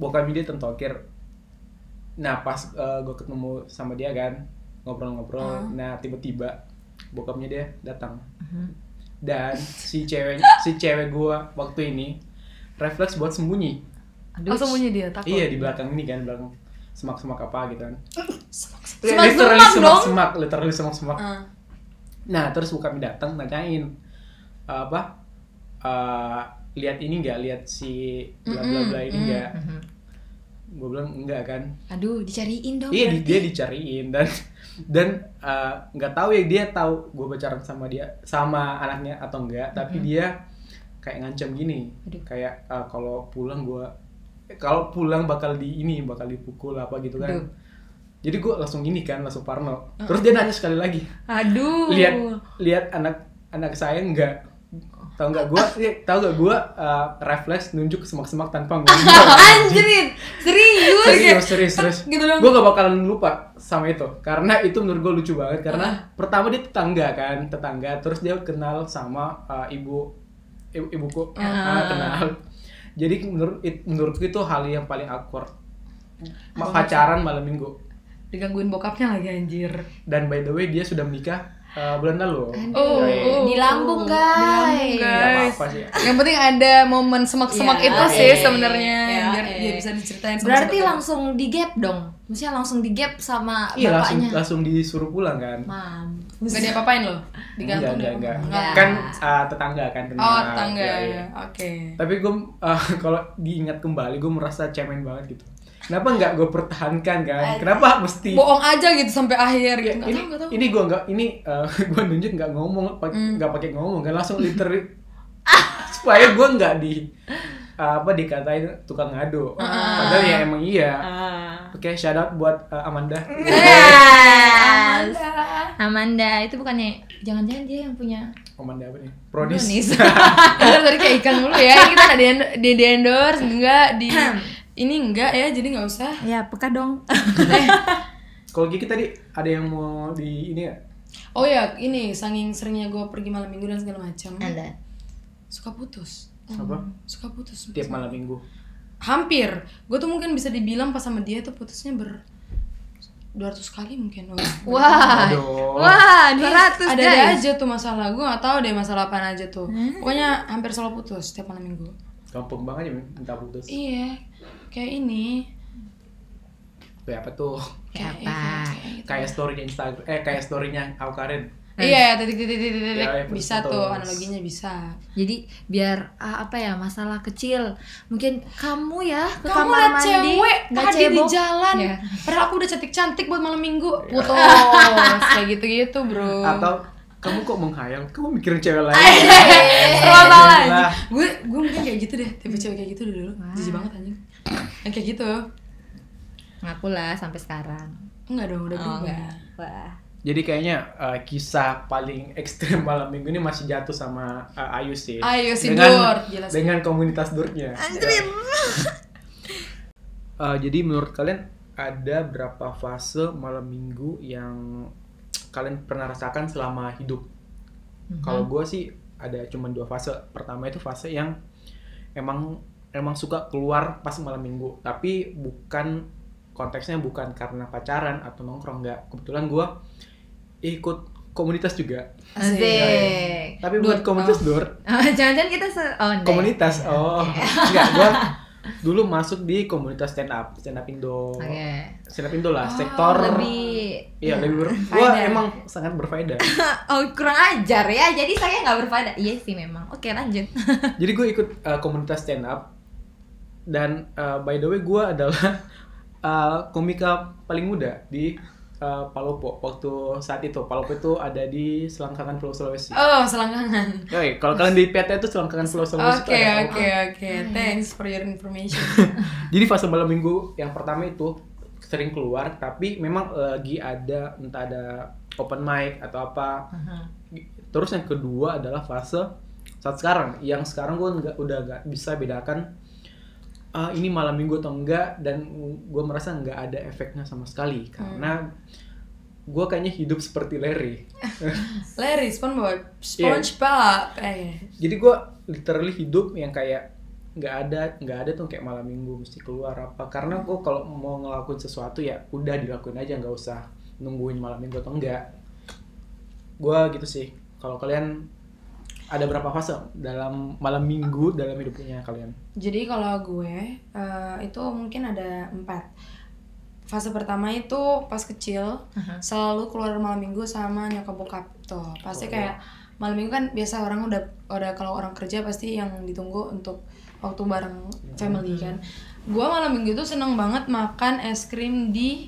Speaker 2: bokapnya dia tentokir. Nah, pas gue ketemu sama dia kan, ngobrol-ngobrol.
Speaker 1: Ah.
Speaker 2: Nah, tiba-tiba bokapnya dia datang.
Speaker 3: Mhm.
Speaker 2: Dan si cewek si cewek gua waktu ini refleks buat sembunyi.
Speaker 3: Aduh,
Speaker 1: Langsung punya dia takut.
Speaker 2: Iya, di belakang ini kan, belakang semak-semak apa gitu kan.
Speaker 3: Semak-semak
Speaker 2: Literally
Speaker 3: dong.
Speaker 2: semak-semak, literally semak-semak.
Speaker 1: Ah.
Speaker 2: Nah terus bokapnya datang nanyain apa eh, lihat ini nggak lihat si bla bla bla ini
Speaker 1: Mm-mm,
Speaker 2: nggak
Speaker 3: Mhm.
Speaker 2: gue bilang enggak kan
Speaker 3: aduh dicariin dong
Speaker 2: iya di-
Speaker 3: Oh, berarti.
Speaker 2: dia dicariin dan dan eh, nggak tahu ya dia tahu gue pacaran sama dia sama anaknya atau enggak tapi
Speaker 3: Mm-mm.
Speaker 2: dia kayak ngancam gini
Speaker 3: Aduh.
Speaker 2: kayak eh, kalau pulang gue kalau pulang bakal di ini bakal dipukul apa gitu kan
Speaker 3: Aduh.
Speaker 2: jadi gue langsung gini kan langsung parno terus dia nanya sekali lagi
Speaker 1: Aduh.
Speaker 2: lihat lihat anak anak saya enggak tahu nggak gua eh, tahu nggak gua eh, refleks nunjuk ke semak-semak tanpa ngomong
Speaker 1: ya?
Speaker 3: anjrit serius
Speaker 2: serius serius serius
Speaker 1: Gitu dong.
Speaker 2: gua gak bakalan lupa sama itu karena itu menurut gua lucu banget karena pertama dia tetangga kan tetangga terus dia kenal sama eh, ibu ibu ibuku Ah, kenal jadi menurut it- menurutku itu hal yang paling awkward Ma- pacaran malam minggu
Speaker 1: Digangguin bokapnya lagi anjir.
Speaker 2: dan by the way dia sudah menikah eh, bulan lalu
Speaker 1: Oh,
Speaker 2: Yoi.
Speaker 1: oh,
Speaker 3: di
Speaker 1: oh.
Speaker 3: lambung guys
Speaker 1: Di lambung,
Speaker 2: Gak
Speaker 1: guys.
Speaker 2: apa-apa sih
Speaker 1: Yang penting ada momen semak-semak
Speaker 3: Ya,
Speaker 1: itu sih
Speaker 3: eh,
Speaker 1: sebenarnya
Speaker 3: ya,
Speaker 1: biar
Speaker 3: eh.
Speaker 1: dia bisa diceritain. sama
Speaker 3: berarti
Speaker 1: semak-semak.
Speaker 3: langsung di gap dong maksudnya langsung di gap sama
Speaker 2: Iya langsung
Speaker 3: bapaknya
Speaker 2: langsung disuruh pulang kan.
Speaker 3: mampus
Speaker 1: Gak diapa-apain loh
Speaker 2: enggak
Speaker 1: Digantung
Speaker 2: enggak
Speaker 1: di
Speaker 2: enggak.
Speaker 1: apa-apa.
Speaker 3: Enggak.
Speaker 2: Kan ah, tetangga kan kenal.
Speaker 1: Oh tetangga
Speaker 2: Iya, iya.
Speaker 1: Oke
Speaker 2: Tapi gue kalau diingat kembali gue merasa cemen banget gitu. Kenapa nggak gue pertahankan kan? Kenapa mesti
Speaker 1: Bohong aja gitu sampai akhir
Speaker 2: Ya,
Speaker 1: gitu Nggak
Speaker 2: ini
Speaker 1: tahu, nggak tahu. Hmm.
Speaker 2: ini gue nggak ini gue nunjuk nggak ngomong pak- nggak pakai ngomong kan langsung literally supaya gue nggak di ah, apa dikatain tukang ngadu
Speaker 1: Ah.
Speaker 2: padahal ya emang iya oke shout out buat eh, Amanda
Speaker 3: Yes. Amanda itu bukannya jangan-jangan dia yang punya
Speaker 2: Amanda apa nih Pronis
Speaker 3: Nunis.
Speaker 1: Ntar tadi kayak ikan dulu ya Ini Kita ada di, end- di, di endorse Enggak di Ini enggak ya Jadi nggak usah
Speaker 3: ya peka dong.
Speaker 2: Kalau Kiki tadi ada yang mau di ini ya?
Speaker 1: Oh ya ini Sanging seringnya gue pergi malam minggu dan segala macam
Speaker 3: Anda.
Speaker 1: Suka putus
Speaker 2: Apa?
Speaker 1: Suka putus
Speaker 2: Tiap malam minggu.
Speaker 1: Hampir Gue tuh mungkin bisa dibilang pas sama dia tuh putusnya ber 200 kali mungkin Wah
Speaker 3: Wah.
Speaker 2: Aduh.
Speaker 3: Wah, 200
Speaker 1: ada ada
Speaker 3: guys.
Speaker 1: aja tuh masalah gue gak tahu deh masalah apa aja tuh pokoknya hampir selalu putus tiap malam minggu
Speaker 2: Gampang banget ya minta putus.
Speaker 1: iya kayak ini
Speaker 2: Kayak apa tuh?
Speaker 1: kayak
Speaker 3: Kayak apa?
Speaker 1: kayak gitu.
Speaker 2: Kayak story di Instagram eh kayak story-nya Aku Karin.
Speaker 1: iya titik titik titik titik, titik.
Speaker 2: Ya, ya, putus
Speaker 1: bisa
Speaker 2: putus.
Speaker 1: tuh analoginya bisa
Speaker 3: Jadi biar ah, apa ya masalah kecil mungkin kamu ya ke
Speaker 1: kamu
Speaker 3: kamar
Speaker 1: liat
Speaker 3: mandi
Speaker 1: cewek
Speaker 3: nggak
Speaker 1: tadi di
Speaker 3: cebok.
Speaker 1: jalan
Speaker 3: Iya.
Speaker 1: padahal aku udah cantik cantik buat malam minggu putus kayak gitu gitu bro
Speaker 2: Atau kamu kok menghayal? Kamu mikirin cewek lain. Gitu. Eh,
Speaker 1: Serba salah
Speaker 2: Gila.
Speaker 1: Eh, anjing. Gue gue mungkin kayak gitu deh, tipe cewek kayak gitu dulu. Jijik banget anjing. Yang kayak gitu.
Speaker 3: Ngaku lah sampai sekarang.
Speaker 1: Enggak dong, udah
Speaker 3: Oh,
Speaker 1: berubah.
Speaker 3: enggak. Wah.
Speaker 2: Jadi kayaknya uh, kisah paling ekstrim malam minggu ini masih jatuh sama uh, Ayu sih.
Speaker 1: Ayu sih,
Speaker 2: dengan,
Speaker 1: Dur. Gila sih.
Speaker 2: dengan komunitas Durnya. Uh, jadi menurut kalian ada berapa fase malam minggu yang kalian pernah rasakan selama hidup? Kalau gue sih ada cuma dua fase. Pertama itu fase yang emang emang suka keluar pas malam minggu, tapi bukan konteksnya bukan karena pacaran atau nongkrong nggak. Kebetulan gue ikut komunitas juga,
Speaker 3: Asik.
Speaker 2: tapi bukan
Speaker 1: Dur,
Speaker 2: komunitas dur,
Speaker 3: Oh, Jangan-jangan kita se oh, enggak.
Speaker 2: komunitas. Oh, enggak gue dulu masuk di komunitas stand up, stand up Indo,
Speaker 3: Oke.
Speaker 2: stand up Indo lah,
Speaker 1: Oh, ya.
Speaker 2: sektor
Speaker 3: Lebih
Speaker 2: Iya lebih ber-
Speaker 1: Faedah.
Speaker 2: Gua emang sangat berfaedah.
Speaker 3: oh kurang ajar ya. Jadi saya nggak berfaedah. Iya sih memang. Oke, lanjut.
Speaker 2: Jadi gue ikut uh, komunitas stand up dan uh, by the way gue adalah uh, komika paling muda di uh, Palopo waktu saat itu. Palopo itu ada di selangkangan Pulau Sulawesi.
Speaker 1: Oh, selangkangan.
Speaker 2: Oke, kalau kalian di PT itu selangkangan Pulau Sulawesi. itu
Speaker 1: Oke,
Speaker 2: ada.
Speaker 1: oke, oke. Thanks for your information.
Speaker 2: Jadi fase malam minggu yang pertama itu sering keluar tapi memang lagi ada entah ada open mic atau apa Terus yang kedua adalah fase saat sekarang, yang sekarang gue nggak udah nggak bisa bedakan ah, ini malam minggu atau enggak dan gue merasa nggak ada efeknya sama sekali karena gue kayaknya hidup seperti Larry.
Speaker 1: Larry, SpongeBob,
Speaker 2: Iya.
Speaker 1: SpongeBob. Eh,
Speaker 2: Jadi gue literally hidup yang kayak nggak ada nggak ada tuh kayak malam minggu mesti keluar apa karena gue kalau mau ngelakuin sesuatu ya udah dilakuin aja nggak usah nungguin malam minggu atau enggak. Gue gitu sih. Kalau kalian ada berapa fase dalam malam minggu dalam hidupnya kalian?
Speaker 1: Jadi kalau gue eh, itu mungkin ada empat. Fase pertama itu pas kecil
Speaker 3: Aha.
Speaker 1: selalu keluar malam minggu sama nyokap bokap tuh. Pasti
Speaker 2: Oh,
Speaker 1: kayak malam minggu kan biasa orang udah udah kalau orang kerja pasti yang ditunggu untuk waktu bareng family kan. Gue malam minggu itu seneng banget makan es krim di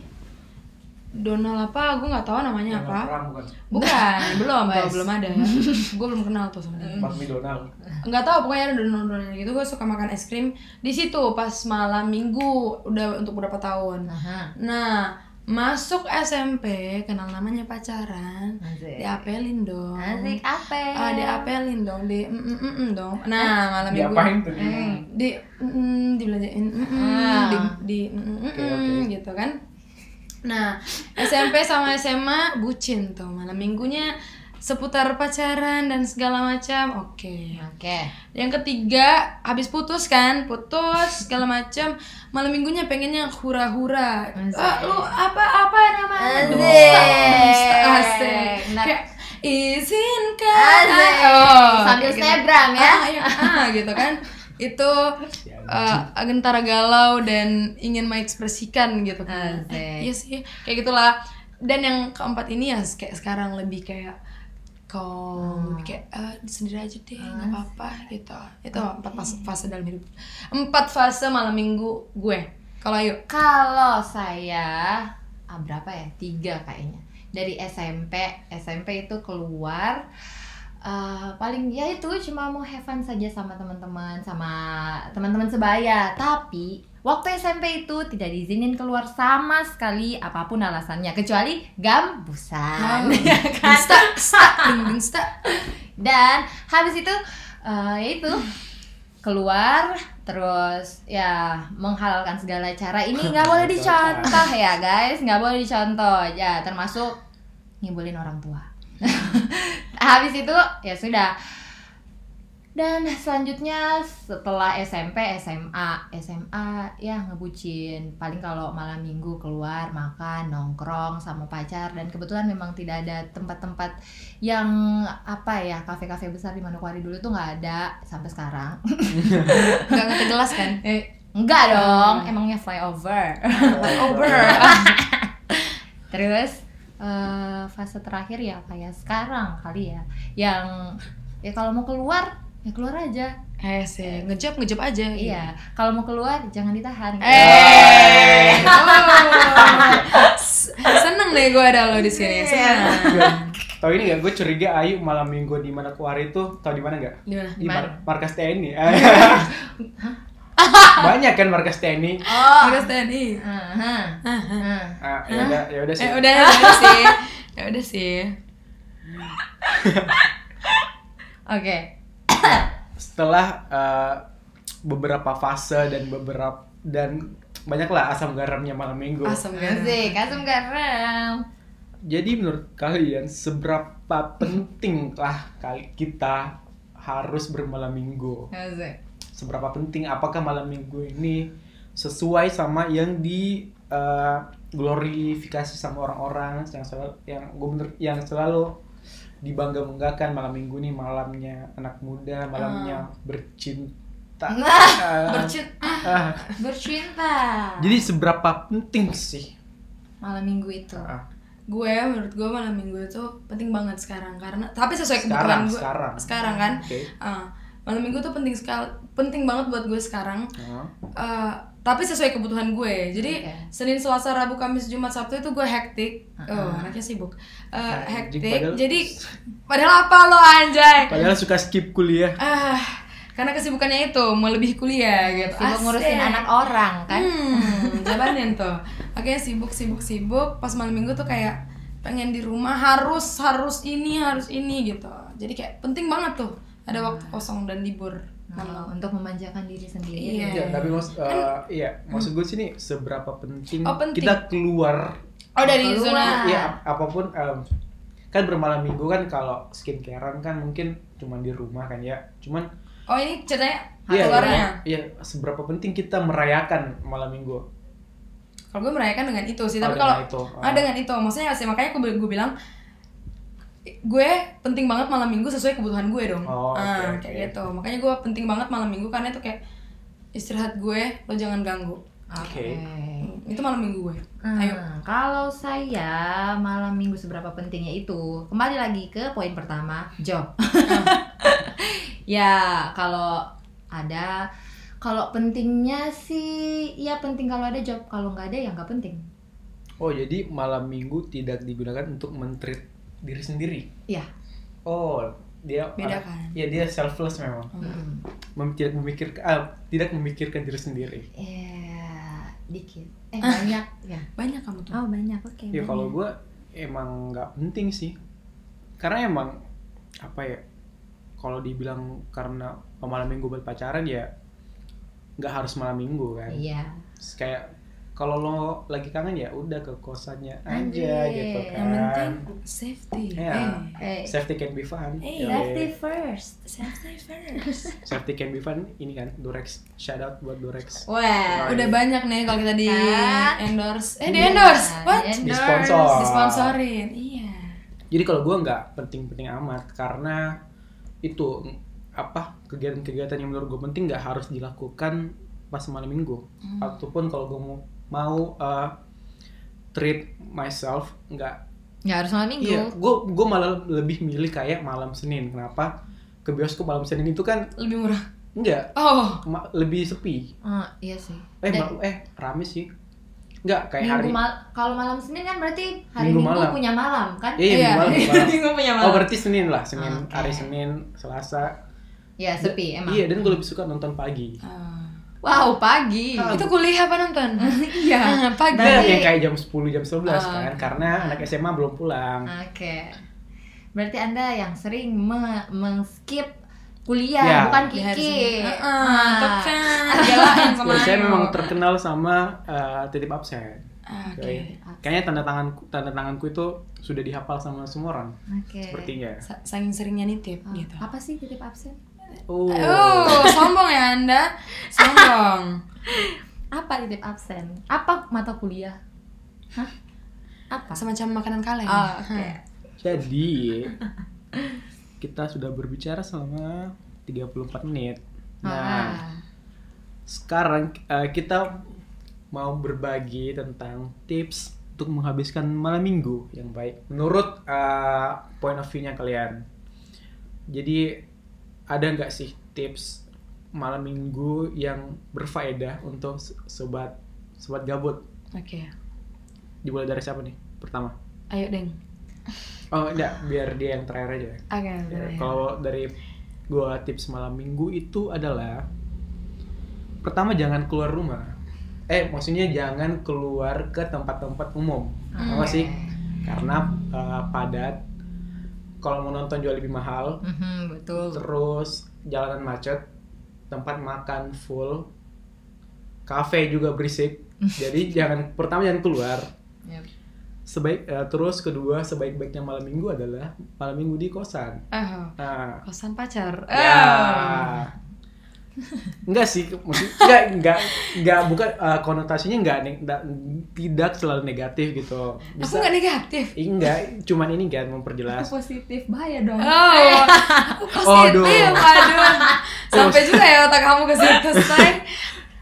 Speaker 1: Donald apa? Gue nggak tahu namanya apa. Bukan, belum, belum, belum ada. gue belum kenal tuh sama dia
Speaker 2: Donald.
Speaker 1: nggak tahu pokoknya ada donan-donan gitu gue suka makan es krim di situ pas malam minggu udah untuk berapa tahun
Speaker 3: Aha.
Speaker 1: nah masuk SMP kenal namanya pacaran
Speaker 3: Asik.
Speaker 1: diapelin dong
Speaker 3: Asik apa?
Speaker 1: ah diapelin dong di mm, mm, mm, mm dong nah malam minggu
Speaker 2: Diapain tuh?
Speaker 1: di mm, mm, dibelanjain mm, mm,
Speaker 3: Ah.
Speaker 1: di, di mm, mm,
Speaker 2: Oke,
Speaker 1: mm,
Speaker 2: oke.
Speaker 1: gitu kan nah SMP sama SMA bucin tuh malam minggunya seputar pacaran dan segala macam oke
Speaker 3: Oke.
Speaker 1: yang ketiga, habis putus kan, putus segala macam. Malam minggunya pengennya hura-hura.
Speaker 3: Asik.
Speaker 1: Ah, lu apa-apa namanya?
Speaker 3: Asik.
Speaker 1: Dusta. Asik.
Speaker 3: Nah.
Speaker 1: Kayak izinkan.
Speaker 3: Asik.
Speaker 1: Oh,
Speaker 3: Sambil
Speaker 1: kayak gitu.
Speaker 3: snapgram ya.
Speaker 1: Ah, iya. Ah, gitu kan. Itu eh, Gentara galau dan ingin mengekspresikan gitu kan.
Speaker 3: Asik.
Speaker 1: Eh, iya sih, kayak gitulah. Dan yang keempat ini ya kayak sekarang lebih kayak calm, lebih kayak eh, sendiri aja deh,
Speaker 3: Ah.
Speaker 1: nggak apa-apa gitu. Itu empat fase, fase dalam hidup. Empat fase malam minggu gue. Kalau yuk
Speaker 3: Kalau saya ah, berapa ya? Tiga kayaknya. Dari SMP, SMP itu keluar eh, paling ya itu cuma mau have fun saja sama teman-teman sama teman-teman sebaya. Tapi waktu SMP itu tidak diizinin keluar sama sekali apapun alasannya kecuali gambusan.
Speaker 1: Ah,
Speaker 3: ya kan?
Speaker 1: Insta, Iya insta, ding, ding, insta.
Speaker 3: Dan habis itu eh, ya itu keluar terus ya menghalalkan segala cara ini nggak boleh dicontoh ya guys nggak boleh dicontoh ya termasuk ngibulin orang tua habis itu ya sudah dan selanjutnya setelah SMP, SMA, SMA ya ngebucin. Paling kalau malam minggu keluar makan, nongkrong sama pacar dan kebetulan memang tidak ada tempat-tempat yang apa ya, kafe-kafe besar di Manokwari dulu tuh nggak ada sampai sekarang.
Speaker 1: Nggak ngerti jelas kan?
Speaker 3: Eh, enggak dong, emangnya flyover.
Speaker 1: Oh, Over.
Speaker 2: Iya.
Speaker 3: Terus eh, fase terakhir ya kayak sekarang kali ya, yang ya kalau mau keluar ya keluar aja
Speaker 1: Eh sih, ngejep ngejep aja. gitu.
Speaker 3: Iya, kalau mau keluar jangan ditahan.
Speaker 1: Oh, Eh, oh. seneng deh gue ada lo di sini. Seneng.
Speaker 2: Tahu ini nggak? Gue curiga Ayu malam minggu di mana keluar itu tahu di mana nggak?
Speaker 1: Gimana?
Speaker 2: Di
Speaker 3: Di
Speaker 2: mar-
Speaker 3: mana?
Speaker 2: markas TNI. Banyak kan markas TNI.
Speaker 1: Oh, harus TNI.
Speaker 3: Aha. Aha.
Speaker 2: Ah, ya udah, ya udah sih.
Speaker 1: Eh udah ya udah sih. Ya udah sih.
Speaker 3: Oke.
Speaker 2: Setelah eh, beberapa fase dan beberapa dan banyaklah asam garamnya malam minggu.
Speaker 1: Asam garam.
Speaker 3: Asik, asam garam.
Speaker 2: Jadi menurut kalian seberapa penting lah kali kita harus bermalam minggu?
Speaker 3: Asik.
Speaker 2: Seberapa penting? Apakah malam minggu ini sesuai sama yang di eh, glorifikasi sama orang-orang yang selalu yang gue bener- yang selalu dibangga-banggakan malam minggu nih malamnya anak muda,
Speaker 1: Ah.
Speaker 2: malamnya bercinta. Eh,
Speaker 3: Bercinta.
Speaker 2: ah.
Speaker 3: Bercinta.
Speaker 2: Jadi seberapa penting sih?
Speaker 3: Malam minggu itu.
Speaker 2: Ah,
Speaker 1: Gue ya, menurut gue malam minggu itu penting banget sekarang karena tapi sesuai kebutuhan
Speaker 2: Sekarang,
Speaker 1: gue.
Speaker 2: sekarang.
Speaker 1: Sekarang kan.
Speaker 2: Oke.
Speaker 1: Ah, malam minggu tuh penting sekali penting banget buat gue sekarang.
Speaker 2: Ah.
Speaker 1: Eh, tapi sesuai kebutuhan gue. Jadi
Speaker 3: Oke.
Speaker 1: Senin, Selasa, Rabu, Kamis, Jumat, Sabtu itu gue hektik. Oh, anaknya sibuk. Eh,
Speaker 2: Anjing,
Speaker 1: hektik.
Speaker 2: padahal-
Speaker 1: Jadi padahal apa lo anjay?
Speaker 2: Padahal suka skip kuliah.
Speaker 1: Ah, karena kesibukannya itu melebihi kuliah gitu.
Speaker 3: Iya, Sibuk ngurusin
Speaker 1: Asik.
Speaker 3: anak orang kan.
Speaker 1: Hmm, jabanin tuh. Oke, sibuk sibuk sibuk. Pas malam minggu tuh kayak pengen di rumah harus harus ini harus ini gitu. Jadi kayak penting banget tuh ada waktu
Speaker 3: Hmm.
Speaker 1: kosong dan libur.
Speaker 3: Nah, untuk memanjakan diri sendiri.
Speaker 1: Iya.
Speaker 2: Ya, tapi maksud iya, maksud gue sih nih seberapa penting,
Speaker 1: Oh, penting.
Speaker 2: kita keluar
Speaker 1: Oh dari
Speaker 3: Keluar.
Speaker 1: zona.
Speaker 2: ya ap- apapun em, kan bermalam minggu kan kalau skincarean kan mungkin cuman di rumah kan ya. Cuman
Speaker 1: Oh ini ceritanya
Speaker 2: iya,
Speaker 1: keluarnya.
Speaker 2: iya, seberapa penting kita merayakan malam minggu.
Speaker 1: Kalau gue merayakan dengan itu sih, tapi
Speaker 2: Oh,
Speaker 1: kalau
Speaker 2: dengan itu.
Speaker 1: ah, dengan itu maksudnya sih makanya gue, gue bilang gue penting banget malam minggu sesuai kebutuhan gue dong.
Speaker 2: Oh, oke,
Speaker 1: Ah,
Speaker 2: oke.
Speaker 1: kayak gitu. Makanya gue penting banget malam minggu karena itu kayak istirahat gue lo jangan ganggu.
Speaker 2: Oke.
Speaker 1: Hmm, Itu malam minggu gue.
Speaker 3: Hmm,
Speaker 1: Ayo.
Speaker 3: kalau saya malam minggu seberapa pentingnya itu kembali lagi ke poin pertama job. ya kalau ada kalau pentingnya sih ya penting kalau ada job kalau nggak ada ya nggak penting.
Speaker 2: Oh, jadi malam minggu tidak digunakan untuk mentreat diri sendiri.
Speaker 3: Ya.
Speaker 2: Oh, dia
Speaker 1: Iya. Beda
Speaker 2: ah,
Speaker 1: kan?
Speaker 2: Ya, dia selfless memang.
Speaker 3: Mm.
Speaker 2: Mem- tidak memikirkan ah, tidak memikirkan diri sendiri.
Speaker 3: Ya, dikit. Eh banyak ya.
Speaker 1: Banyak kamu tuh.
Speaker 3: Oh banyak
Speaker 2: Ya
Speaker 3: oke. banyak.
Speaker 2: kalau gue emang nggak penting sih, karena emang apa ya? Kalau dibilang karena malam minggu buat pacaran ya nggak harus malam minggu kan.
Speaker 3: Iya.
Speaker 2: Terus Kayak kalau lo lagi kangen ya udah ke kosannya aja
Speaker 3: Anjay.
Speaker 2: gitu kan.
Speaker 1: Yang penting safety.
Speaker 2: Iya.
Speaker 1: Eh.
Speaker 3: Eh,
Speaker 2: Safety can be fun.
Speaker 1: Eh,
Speaker 2: Yoi.
Speaker 3: safety first.
Speaker 1: Safety first.
Speaker 2: Safety can be fun. Ini kan Durex. Shout out buat Durex.
Speaker 3: Wah.
Speaker 1: Udah banyak nih kalau kita di
Speaker 3: Kan?
Speaker 1: endorse. Eh di
Speaker 3: Iya,
Speaker 1: endorse. What?
Speaker 3: di-endorse.
Speaker 2: Di sponsor.
Speaker 1: Disponsorin. Iya.
Speaker 2: Jadi kalau gue nggak penting-penting amat karena itu n- apa kegiatan-kegiatan yang menurut gue penting nggak harus dilakukan pas malam minggu
Speaker 3: Hmm.
Speaker 2: ataupun kalau gue mau mau eh, treat myself nggak
Speaker 3: Nggak harus malam minggu.
Speaker 2: iya gue gue malah lebih milih kayak malam senin kenapa ke bioskop malam senin itu kan
Speaker 1: Lebih murah.
Speaker 2: nggak
Speaker 1: Oh.
Speaker 2: ma- lebih sepi
Speaker 3: Ah, iya sih.
Speaker 2: eh
Speaker 3: Dan-
Speaker 2: ma- eh rame sih nggak kayak
Speaker 3: Minggu
Speaker 2: hari
Speaker 3: mal kalau malam Senin kan berarti hari
Speaker 2: Minggu
Speaker 3: Minggu,
Speaker 2: malam.
Speaker 3: punya malam kan?
Speaker 2: Iya, minggu malam, minggu malam.
Speaker 1: Gue punya
Speaker 2: oh
Speaker 1: malam.
Speaker 2: berarti senin lah senin
Speaker 3: Oke.
Speaker 2: hari senin selasa
Speaker 3: Ya sepi emang.
Speaker 2: iya dan gue lebih suka nonton pagi
Speaker 1: Ah.
Speaker 3: Wow pagi.
Speaker 2: Ah,
Speaker 1: Itu kuliah apa nonton?
Speaker 3: Iya.
Speaker 1: Ah, Pagi.
Speaker 2: Enggak,
Speaker 3: Berarti-
Speaker 2: yang kayak jam 10 jam 11
Speaker 3: Oh,
Speaker 1: Ah.
Speaker 2: kan karena anak SMA belum pulang.
Speaker 3: Oke. Berarti anda yang sering me mengskip
Speaker 2: Ya.
Speaker 3: kuliah bukan
Speaker 1: Di hari
Speaker 3: kiki.
Speaker 1: Senin. Ah, ah,
Speaker 3: Ah.
Speaker 1: top kan. Galain sama
Speaker 2: Ya, saya
Speaker 1: Ayu.
Speaker 2: memang terkenal sama eh, titip absen.
Speaker 1: Ah, Oke.
Speaker 2: Jadi, Kayaknya tanda tanganku tanda tanganku itu sudah dihafal sama semua orang ya.
Speaker 3: Oke.
Speaker 2: sepertinya.
Speaker 1: Sa- Saking seringnya nitip
Speaker 3: Ah,
Speaker 1: gitu.
Speaker 3: Apa sih titip absen?
Speaker 2: Oh.
Speaker 1: Oh, sombong ya Anda. Sombong.
Speaker 3: Apa titip absen? Apa mata kuliah? Hah? Apa?
Speaker 1: Semacam makanan kaleng.
Speaker 3: Ah, Oke.
Speaker 2: Jadi kita sudah berbicara selama 34 menit. Nah,
Speaker 3: Ah.
Speaker 2: sekarang eh, kita mau berbagi tentang tips untuk menghabiskan malam minggu yang baik menurut eh, point of view-nya kalian. Jadi ada nggak sih tips malam minggu yang berfaedah untuk se- sobat sobat gabut?
Speaker 1: Oke.
Speaker 2: Dimulai dari siapa nih? Pertama.
Speaker 1: Ayo, Deng.
Speaker 2: Oh, enggak, biar dia yang terakhir aja.
Speaker 1: Oke,
Speaker 3: Iya.
Speaker 2: Ya, Kalau dari gua tips malam minggu itu adalah pertama jangan keluar rumah eh maksudnya jangan keluar ke tempat-tempat umum
Speaker 3: Hmm.
Speaker 2: apa sih karena eh, padat kalau mau nonton jauh lebih mahal
Speaker 3: Mhm, betul.
Speaker 2: terus jalanan macet tempat makan full kafe juga berisik jadi jangan pertama jangan keluar
Speaker 3: Yep.
Speaker 2: sebaik eh, terus kedua sebaik-baiknya malam minggu adalah malam minggu di kosan
Speaker 1: Ah,
Speaker 2: nah
Speaker 1: kosan pacar. Ah.
Speaker 2: ya enggak sih maksud- enggak enggak enggak bukan eh, konotasinya enggak, ne- enggak- tidak selalu negatif gitu
Speaker 1: Aku
Speaker 2: bisa
Speaker 1: nggak negatif.
Speaker 2: Ih, enggak cuman ini kan memperjelas
Speaker 3: Aku positif bahaya
Speaker 1: Oh,
Speaker 3: dong.
Speaker 1: aku
Speaker 2: Aduh.
Speaker 1: positif, aduh. Sampai juga ya otak kamu ke situ, say.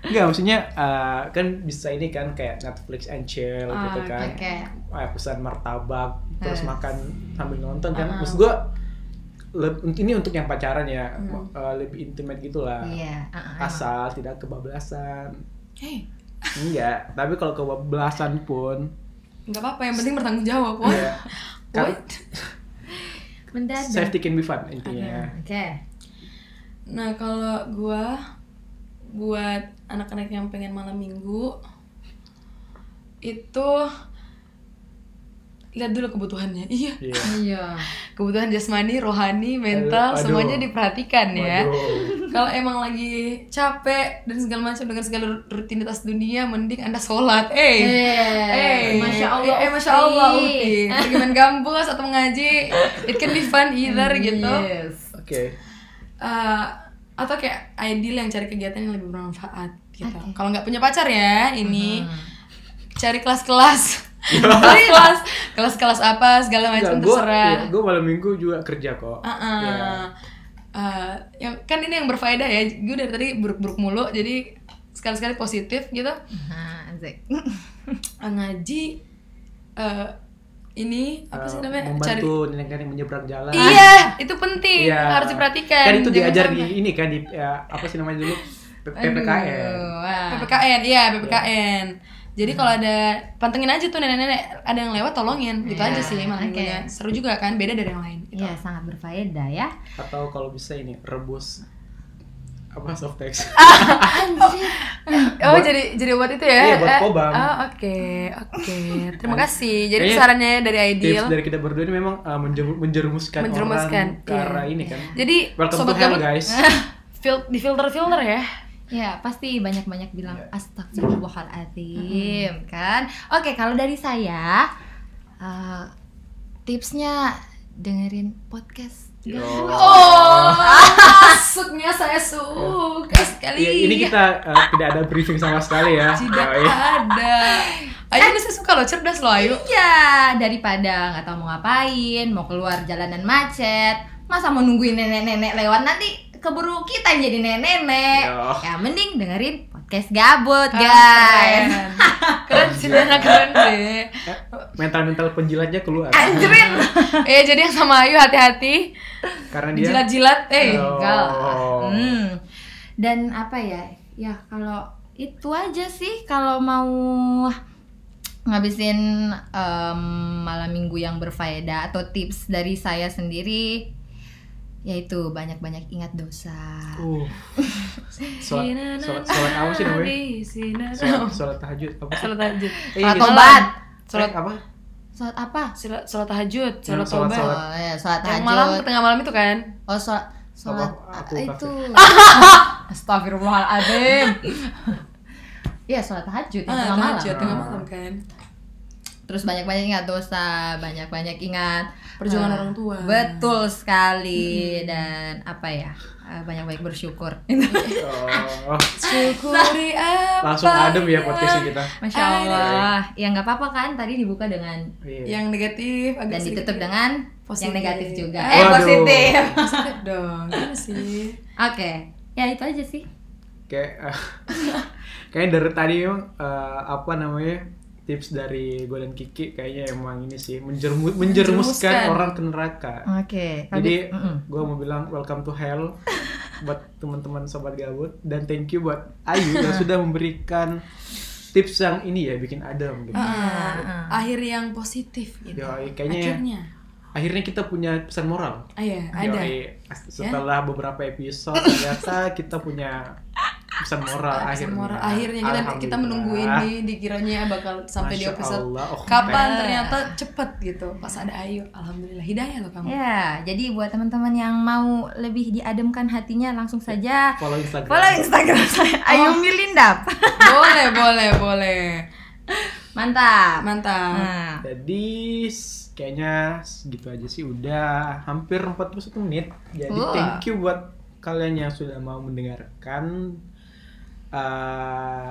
Speaker 2: Enggak, maksudnya eh, kan bisa ini kan kayak Netflix and chill
Speaker 1: Ah,
Speaker 2: gitu kan.
Speaker 3: Oke.
Speaker 2: Eh, pesan martabak, terus
Speaker 3: Eh.
Speaker 2: makan sambil nonton kan.
Speaker 3: Ah.
Speaker 2: Maksud gua le- ini untuk yang pacaran ya,
Speaker 1: Hmm.
Speaker 2: mo- eh, lebih intimate gitu lah.
Speaker 3: Iya. ah, ah,
Speaker 2: Asal tidak kebablasan.
Speaker 1: Hey,
Speaker 2: Enggak, tapi kalau kebablasan pun
Speaker 1: nggak apa-apa. Yang penting bertanggung jawab. What?
Speaker 2: ya,
Speaker 1: What?
Speaker 2: kan
Speaker 3: emang. Mendadak.
Speaker 2: safety can be fun
Speaker 3: Ah,
Speaker 2: intinya.
Speaker 3: Oke.
Speaker 1: Nah, kalau gua buat anak-anak yang pengen malam minggu itu lihat dulu kebutuhannya. Iya,
Speaker 2: Iya.
Speaker 3: Iya.
Speaker 1: kebutuhan jasmani, rohani, mental
Speaker 2: Aduh.
Speaker 1: semuanya diperhatikan ya.
Speaker 2: Waduh.
Speaker 1: Kalau emang lagi capek dan segala macam dengan segala rutinitas dunia, mending anda sholat. Eh,
Speaker 3: Eh, masya Allah. Ah,
Speaker 1: eh, masya Allah,
Speaker 3: Ufi.
Speaker 1: Uti. Pergi main kampus atau mengaji, it can be fun either
Speaker 3: Hmm,
Speaker 1: gitu.
Speaker 3: Yes.
Speaker 2: Oke.
Speaker 1: Eh, atau kayak ideal yang cari kegiatan yang lebih bermanfaat gitu. Kalau nggak punya pacar ya, ini cari kelas-kelas. kelas-kelas, kelas-kelas apa segala
Speaker 2: Enggak,
Speaker 1: macam
Speaker 2: gua,
Speaker 1: Oh, terserah. Ah,
Speaker 2: iya, gua malam minggu juga kerja kok.
Speaker 1: Heeh.
Speaker 2: Iya.
Speaker 1: Eh, yang kan ini yang berfaedah ya. Gue dari tadi buruk-buruk mulu jadi sekali-sekali positif gitu.
Speaker 3: Nah, Zek.
Speaker 1: Eh, Ngaji eh, ini apa sih
Speaker 2: Eh,
Speaker 1: namanya? Cari
Speaker 2: Membantu nenek-nenek menyeberang jalan.
Speaker 1: Iya, itu penting,
Speaker 2: Iya.
Speaker 1: harus diperhatikan.
Speaker 2: Kan itu
Speaker 1: Jangan
Speaker 2: diajar di
Speaker 1: sampai.
Speaker 2: ini kan di ya, apa sih namanya dulu P- PPKN.
Speaker 1: PPKN, iya PPKN. Jadi kalau ada pantengin aja tuh nenek-nenek ada yang lewat tolongin gitu
Speaker 3: Iya,
Speaker 1: aja sih malah
Speaker 3: oke.
Speaker 1: minggunya. Seru juga kan beda dari yang lain. Gitu.
Speaker 3: Iya, sangat berfaedah ya.
Speaker 2: Atau kalau bisa ini rebus apa
Speaker 1: Oh
Speaker 2: softex. Buat-
Speaker 1: jadi jadi buat itu ya?
Speaker 2: Iya, buat
Speaker 1: Eh,
Speaker 2: kobam.
Speaker 1: Oh oke oke terima kasih. Jadi
Speaker 2: Kayaknya
Speaker 1: sarannya dari Ideal.
Speaker 2: Iya. Tips dari kita berdua ini memang uh, menjeru- menjerumuskan,
Speaker 1: Menjerumuskan,
Speaker 2: orang ke
Speaker 1: iya.
Speaker 2: arah ini kan.
Speaker 1: Jadi
Speaker 2: Welcome
Speaker 1: sobat
Speaker 2: to hell
Speaker 1: gabut,
Speaker 2: guys.
Speaker 1: fil- di filter filter ya.
Speaker 3: Ya, pasti banyak-banyak bilang astagfirullahaladzim, kan? Oke, kalau dari saya, eh, tipsnya dengerin podcast.
Speaker 2: Yo.
Speaker 1: Oh maksudnya saya suka sekali.
Speaker 2: Ya, ini kita uh, tidak ada briefing sama sekali ya.
Speaker 1: tidak
Speaker 2: Oh, iya.
Speaker 1: ada. Ayu ini saya suka loh cerdas loh Ayu.
Speaker 3: Iya, daripada nggak tahu mau ngapain, mau keluar jalanan macet, masa mau nungguin nenek-nenek lewat nanti keburu kita yang jadi nenek-nenek.
Speaker 2: Yo.
Speaker 3: Ya mending dengerin podcast
Speaker 1: Ah,
Speaker 3: gabut,
Speaker 1: Keren.
Speaker 3: guys.
Speaker 1: Keren sih Nana keren deh.
Speaker 2: Mental-mental penjilatnya keluar.
Speaker 1: Anjrit. eh jadi yang sama Ayu hati-hati.
Speaker 2: Karena dia Oh. Uh.
Speaker 1: Jilat-jilat eh.
Speaker 2: Yo.
Speaker 3: Enggak. Hmm. Dan apa ya? Ya kalau itu aja sih kalau mau ngabisin em, malam minggu yang berfaedah atau tips dari saya sendiri yaitu banyak-banyak ingat dosa.
Speaker 2: Uh. Sholat, sholat, sholat apa sih namanya? Sholat, sholat tahajud apa sih?
Speaker 1: Sholat tahajud.
Speaker 2: Eh,
Speaker 3: Sholat
Speaker 2: gitu.
Speaker 3: tobat.
Speaker 1: Sholat
Speaker 2: Eh, apa?
Speaker 3: Sholat apa?
Speaker 1: sholat sholat tahajud,
Speaker 2: Yang
Speaker 1: sholat
Speaker 2: sholat-
Speaker 1: tobat.
Speaker 3: Oh, ya, sholat
Speaker 1: Yang malam ke
Speaker 3: tahajud.
Speaker 1: tengah malam itu kan.
Speaker 3: Oh, sholat sholat ah,
Speaker 2: Apa? Aku
Speaker 3: itu. Astagfirullahaladzim. ya, sholat tahajud yang
Speaker 1: Ah,
Speaker 3: tengah malam.
Speaker 1: tahajud tengah Ah, malam kan.
Speaker 3: Terus banyak-banyak ingat dosa, banyak-banyak ingat
Speaker 1: Perjuangan
Speaker 3: eh,
Speaker 1: orang tua. Hmm.
Speaker 3: Betul sekali dan apa ya? eh, banyak-banyak bersyukur.
Speaker 2: Oh,
Speaker 1: Syukuri apa?
Speaker 2: langsung adem ya podcastnya kita.
Speaker 1: Ah, iya,
Speaker 3: Masya Allah. Ya nggak apa-apa kan tadi dibuka dengan
Speaker 2: Iya.
Speaker 1: Yang negatif agak
Speaker 3: dan
Speaker 1: sedikit ya.
Speaker 3: ditutup dengan
Speaker 1: Positif.
Speaker 3: yang negatif juga.
Speaker 1: Eh,
Speaker 2: Waduh. positif.
Speaker 1: positif dong. Gimana sih?
Speaker 3: Oke. Ya itu aja sih.
Speaker 2: Kayak eh, kayak dari tadi emang eh, apa namanya? Tips dari gue dan Kiki kayaknya emang ini sih menjermu- menjerumuskan
Speaker 1: Menjerumuskan.
Speaker 2: orang ke neraka.
Speaker 1: Oh,
Speaker 3: Oke. kalau
Speaker 2: Jadi
Speaker 3: gitu- Mm-mm.
Speaker 2: gue mau bilang welcome to hell buat teman-teman sobat gabut dan thank you buat Ayu yang sudah memberikan tips yang ini ya bikin adem gitu.
Speaker 1: Ah, akhir yang positif gitu.
Speaker 2: Yoi, Ya, kayaknya Ya,
Speaker 1: Akhirnya.
Speaker 2: akhirnya kita punya pesan moral.
Speaker 1: Ah, iya, ada.
Speaker 2: Yoi, setelah beberapa episode ternyata kita punya pesan moral
Speaker 1: Ah, pesan
Speaker 2: akhirnya.
Speaker 1: moral. akhirnya kita kita menunggu
Speaker 2: Alhamdulillah.
Speaker 1: ini dikiranya bakal sampai di
Speaker 2: Masya
Speaker 1: episode
Speaker 2: Allah, oh,
Speaker 1: kapan
Speaker 3: Nah.
Speaker 1: ternyata cepet gitu pas ada ayu alhamdulillah hidayah loh kamu
Speaker 3: Ya, jadi buat teman-teman yang mau lebih diademkan hatinya langsung saja
Speaker 2: Follow Instagram.
Speaker 3: follow Instagram saya Ayu Milindap.
Speaker 1: boleh boleh boleh
Speaker 3: Mantap.
Speaker 1: mantap
Speaker 3: Nah,
Speaker 2: Jadi s- kayaknya segitu aja sih udah hampir 41 menit. Jadi
Speaker 3: Wah.
Speaker 2: thank you buat kalian yang sudah mau mendengarkan Eh,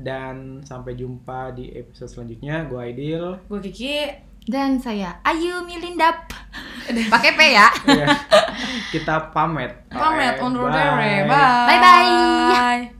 Speaker 2: dan sampai jumpa di episode selanjutnya. Gua Aidil.
Speaker 1: gue kiki
Speaker 3: dan saya Ayu Milindap. Pakai P ya.
Speaker 2: Ya. Iya. Kita pamit.
Speaker 1: pamit
Speaker 2: Oke,
Speaker 1: undur
Speaker 2: bye.
Speaker 1: diri bye
Speaker 3: Bye-bye.
Speaker 1: bye